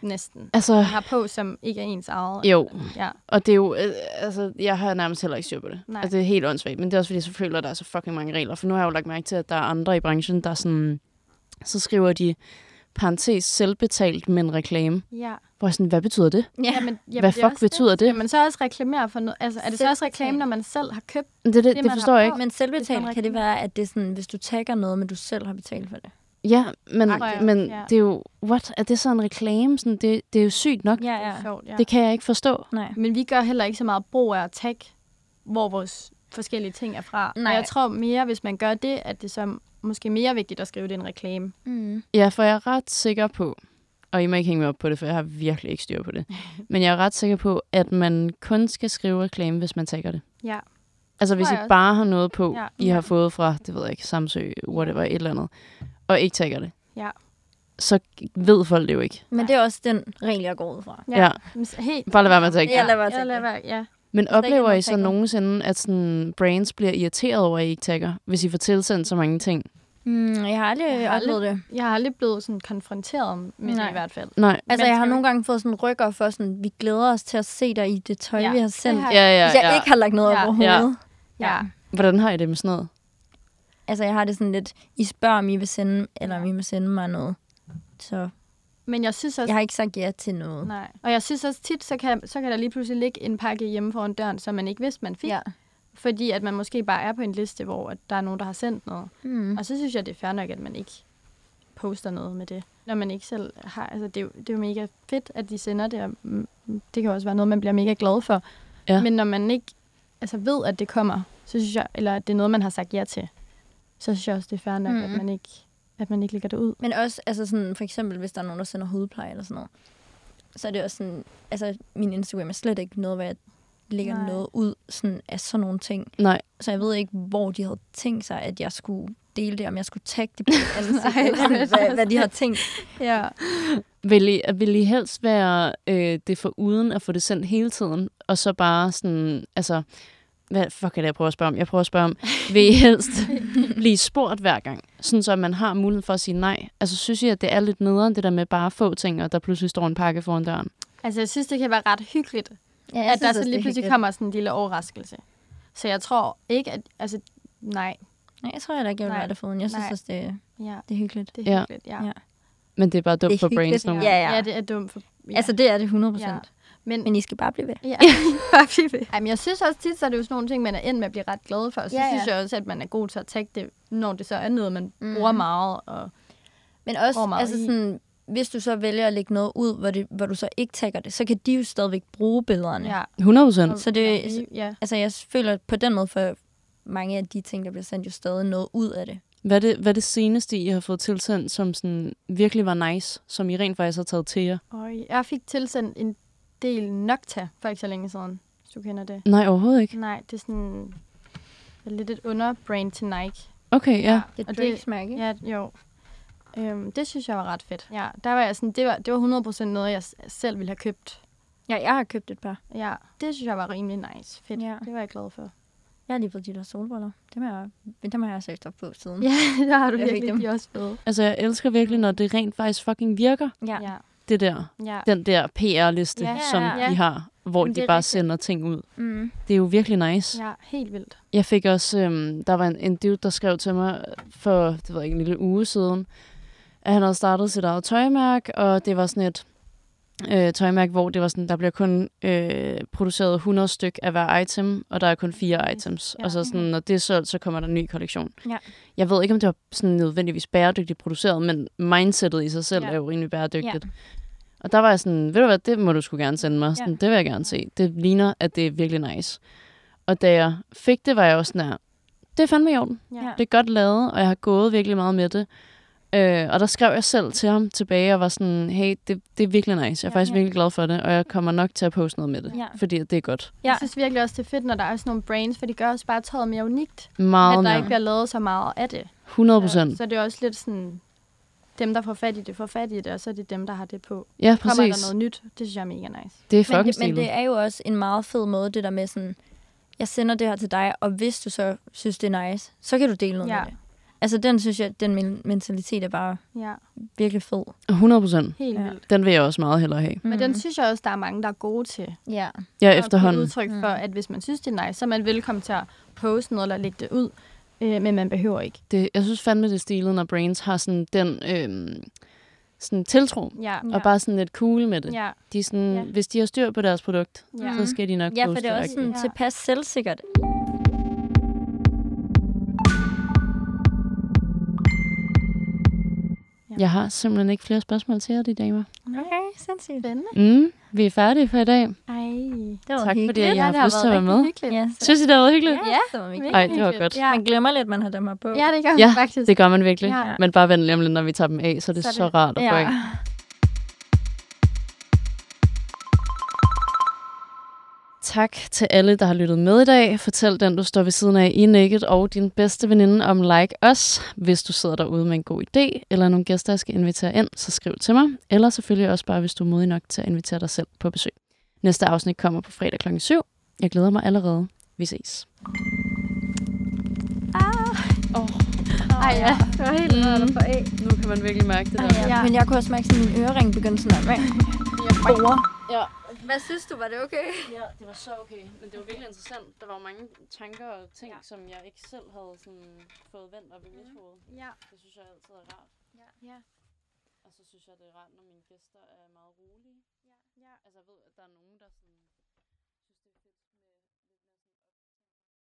næsten,
Altså,
man har på, som ikke er ens eget?
jo.
Ja.
Og det er jo, øh, altså, jeg har nærmest heller ikke styr på det.
Nej.
Altså, det er helt åndssvagt, men det er også fordi, jeg så føler, at der er så fucking mange regler. For nu har jeg jo lagt mærke til, at der er andre i branchen, der sådan, så skriver de parentes selvbetalt, men reklame.
Ja.
Hvor jeg sådan, hvad betyder det?
Ja,
Men, jamen,
Hvad
det er
fuck
også
betyder det?
Skal man så også reklamere for noget? Altså, er det så også
Selvbetalt.
reklame, når man selv har købt?
Det, det, det,
man
det
har
forstår jeg ikke.
på.
Men
Hvis man
selvbetalt kan det være, at det er sådan, hvis du tagger noget, men du selv har betalt for det.
Ja, men,
Agtigt.
men
Ja.
det er jo, what? Er det så en reklame? Sådan, det, det er jo sygt nok.
Ja,
Ja.
ja.
Sjovt, ja.
Det kan jeg ikke forstå.
Nej.
Men vi gør heller ikke så meget brug af at tagge, hvor vores forskellige ting er fra.
Nej.
Og jeg tror mere, hvis man gør det, at det så er måske mere vigtigt at skrive det en reklame.
Mm.
Ja, for jeg er ret sikker på, og I må ikke hænge mig op på det, for jeg har virkelig ikke styr på det, men jeg er ret sikker på, at man kun skal skrive reklame, hvis man tager det.
Ja.
Altså hvis
tror
I
jeg også.
bare har noget på, ja.
Ja.
I har fået fra, det ved jeg ikke, Samsø, whatever, et eller andet, og ikke tager det,
Ja.
så ved folk det jo ikke.
Men det er også den regel, jeg går ud fra.
Ja. ja.
Men s- Helt.
Bare lad være med at tagge.
Ja, lad være
jeg
at tagge
lader
det.
være, ja.
Men
der ikke er
oplever I
nogen
så
tagger.
nogensinde, at sådan brands bliver irriteret over, at I ikke tagger, hvis I får tilsendt så mange ting?
Mm, jeg har aldrig
Jeg
jeg
har
har oplevet det.
Jeg har aldrig blevet sådan konfronteret med det
Nej.
i hvert fald.
Nej.
Altså,
Men
jeg har
skal vi-
nogle gange fået sådan rykker for sådan, vi glæder os til at se dig i det tøj,
Ja,
ja, vi har
det
sendt.
har
Ja, ja,
Hvis jeg
ja.
ikke har lagt noget
Ja.
ja, over hovedet. Ja.
Ja.
Hvordan har I det med sådan noget?
Altså, jeg har det sådan lidt, I spørger, om I vil sende, eller om I må sende mig noget. Så
Men jeg synes også...
jeg har ikke sagt ja til noget.
Nej. Og jeg synes også tit, så kan, så kan der lige pludselig ligge en pakke hjemme foran døren, som man ikke vidste, man fik.
Ja.
Fordi at man måske bare er på en liste, hvor at der er nogen, der har sendt noget.
Mm.
Og så synes jeg, det er fair nok, at man ikke poster noget med det. Når man ikke selv har... Altså, det er jo, det er jo mega fedt, at de sender det, og mm, det kan også være noget, man bliver mega glad for.
Ja.
Men når man ikke altså, ved, at det kommer, så synes jeg, eller at det er noget, man har sagt ja til, så synes jeg også, det er fair nok, mm. at, man ikke, at man ikke lægger det ud.
Men også, altså sådan, for eksempel, hvis der er nogen, der sender hudpleje eller sådan noget, så er det også sådan, altså, min Instagram er slet ikke noget, hvor jeg lægger
Nej.
Nej. noget ud sådan, af sådan nogle ting.
Nej.
Så jeg ved ikke, hvor de havde tænkt sig, at jeg skulle dele det, om jeg skulle tagge det på ansigt, eller sådan, hvad, hvad de har tænkt.
Ja.
Vil I, vil I helst være øh, det for uden at få det sendt hele tiden, og så bare sådan, altså, hvad fuck er det, jeg prøver at spørge om? Jeg prøver at spørge om, vil I helst blive spurgt hver gang, sådan så man har mulighed for at sige nej? Altså, synes I, at det er lidt nederen, det der med bare få ting, og der pludselig står en pakke foran døren?
Altså, jeg synes, det kan være ret hyggeligt,
Ja,
at der så lige pludselig kommer sådan en lille overraskelse. Så jeg tror ikke, at... Altså, nej.
Nej, jeg tror heller ikke, jeg vil
Nej.
være der foruden. Jeg synes
Nej.
også, det,
Ja,
det er hyggeligt.
det
Ja.
er hyggeligt, ja.
Ja.
ja.
Men det er bare dumt
Det er
for
hyggeligt,
brainstorm.
Ja, ja.
ja det er dumt for... Ja.
Altså, det er det 100%. Ja.
Ja. men,
Men I skal bare blive ved.
Ja. Ej, men jeg synes også tit, så er det jo sådan nogle ting, man er endt med at blive ret glad for. Så
Ja,
ja,
ja.
ja. synes jeg også, at man er god til at tage det, når det så er noget, man mm. bruger meget. Og,
Men også,
Hvor meget
altså
i?
sådan, hvis du så vælger at lægge noget ud, hvor, det, hvor du så ikke tagger det, så kan de jo stadigvæk bruge billederne.
ja.
100 procent.
Så det,
Ja, ja.
altså jeg føler at på den måde for mange af de ting, der bliver sendt, jo stadig noget ud af det.
Hvad er det, hvad er det seneste, I har fået tilsendt, som sådan virkelig var nice, som I rent faktisk har taget til jer?
Og jeg fik tilsendt en del Nocta for ikke så længe siden, hvis du kender det.
Nej, overhovedet ikke.
Nej, det er sådan lidt et underbrand til Nike.
Okay, ja.
Det er
Og
Drakes mærke. Ja.
Ja, jo. Øhm, det synes jeg var ret fedt. Ja, der var jeg sådan, det var, det var 100% noget, jeg s- selv ville have købt.
ja, jeg har købt et par.
Ja, det synes jeg var rimelig nice. Fedt.
Ja.
Det var jeg glad for.
Jeg har lige fået de der solbriller. Dem har jeg, dem har jeg søgt op på siden.
Ja, der har du
Jeg fik
virkelig.
dem.
De er også fede.
Altså, jeg elsker virkelig, når det rent faktisk fucking virker,
ja.
Ja.
det der.
ja.
Den der PR-liste,
Ja.
som
Ja.
I har, hvor
Men
de
det er
bare
rigtigt.
sender ting ud.
Mm.
Det er jo virkelig nice.
Ja, helt vildt.
Jeg fik også, øhm, der var en, en dude, der skrev til mig for, det ved jeg ikke, en lille uge siden, at han havde startet sit eget tøjmærke, og det var sådan et øh, tøjmærke, hvor det var sådan, der bliver kun øh, produceret 100 styk af hver item, og der er kun fire items.
Mm. Ja.
Og så sådan, når det er solgt, så kommer der en ny kollektion.
Ja.
Jeg ved ikke, om det var sådan nødvendigvis bæredygtigt produceret, men mindsetet i sig selv
Ja.
er jo rimelig bæredygtigt. Og der var jeg sådan, ved du hvad, det må du skulle gerne sende mig. Sådan,
Ja.
Det vil jeg gerne se. Det ligner, at det er virkelig nice. Og da jeg fik det, var jeg også sådan her, det er fandme i orden.
Ja.
Det er godt lavet, og jeg har gået virkelig meget med det. Øh, og der skrev jeg selv til ham tilbage, og var sådan, hey, det, det er virkelig nice. Jeg er
Ja.
faktisk
Ja.
virkelig glad for det, og jeg kommer nok til at poste noget med det.
Ja.
Fordi at det er godt.
Ja.
Jeg synes virkelig også, det er fedt, når der er sådan nogle brains, for det gør også bare tøjet mere unikt,
Meget
at der
mere.
ikke bliver lavet så meget af det.
100 procent.
Så det er også lidt sådan, dem, der får fat i det, får fat i det, og så er det dem, der har det på.
Ja,
Kommer
præcis.
der noget nyt? Det synes jeg er mega nice.
Det er
Men,
fucking
det, men
stilet.
det er jo også en meget fed måde, det der med sådan, jeg sender det her til dig, og hvis du så synes, det er nice, så kan du dele noget ja.
Ja.
med det. Altså den synes jeg, den men- mentalitet er bare
Ja,
virkelig fed.
100 procent.
helt
Ja. Mm.
ja. vildt.
Den vil jeg også meget hellere have.
Men den synes jeg også, der er mange, der er gode til.
Ja.
Ja,
Og give
efterhånden.
udtryk for, at hvis man synes, det er nice, så er man velkommen til at poste noget eller lægge det ud. Øh, men man behøver ikke.
Det, jeg synes fandme, det er stilet, når Brains har sådan den øhm, sådan tiltro.
Ja,
Ja. Og bare sådan lidt cool med det.
ja,
De er sådan,
Ja. Mm.
ja. Hvis de har styr på deres produkt,
ja.
ja. Mm. så skal de nok
Ja, for
poste
det er også sådan
Ja.
tilpas selvsikkert.
Jeg har simpelthen ikke flere spørgsmål til jer, de damer.
Okay, sindssygt.
Spændende.
Mm, vi er færdige for i dag.
Ej.
Det var
Tak fordi
hyggeligt.
jeg har
det har
haft lyst til at
været
være med.
rigtig hyggeligt.
Ja, så,
Synes I, det har været hyggeligt?
ja, det var mega.
Ej, det var
hyggeligt.
godt.
Ja,
Man glemmer lidt, man har dem her på.
ja det gør
Ja,
man faktisk.
Det gør man virkelig.
Ja.
Men bare vent lige om lidt, når vi tager dem af, så er det så,
Så
så
er det-
rart at få
ja.
af. Tak til alle, der har lyttet med i dag. Fortæl den, du står ved siden af i Naked og din bedste veninde om Like Us. Hvis du sidder derude med en god idé, eller nogle gæster, jeg skal invitere ind, så skriv til mig. Eller selvfølgelig også bare, hvis du er modig nok til at invitere dig selv på besøg. Næste afsnit kommer på fredag kl. 7. Jeg glæder mig allerede. Vi ses.
Ej, ja. Det var
Mm.
helt rart at få af.
Nu kan man virkelig mærke det der.
Ja. Men jeg kunne også mærke, at min ørering begyndte sådan at Store.
Ja.
Hvad synes du, var det okay?
Ja, det var så okay. Men det var virkelig interessant. Der var jo mange tanker og ting, ja. som jeg ikke selv havde sådan fået vendt op i mit hoved.
Mhm. Ja.
Det synes jeg altid er rart.
Ja.
Og så synes jeg, det er rart, når mine gæster er meget rolige.
Ja.
Altså, jeg ved, at der er nogen, der sådan...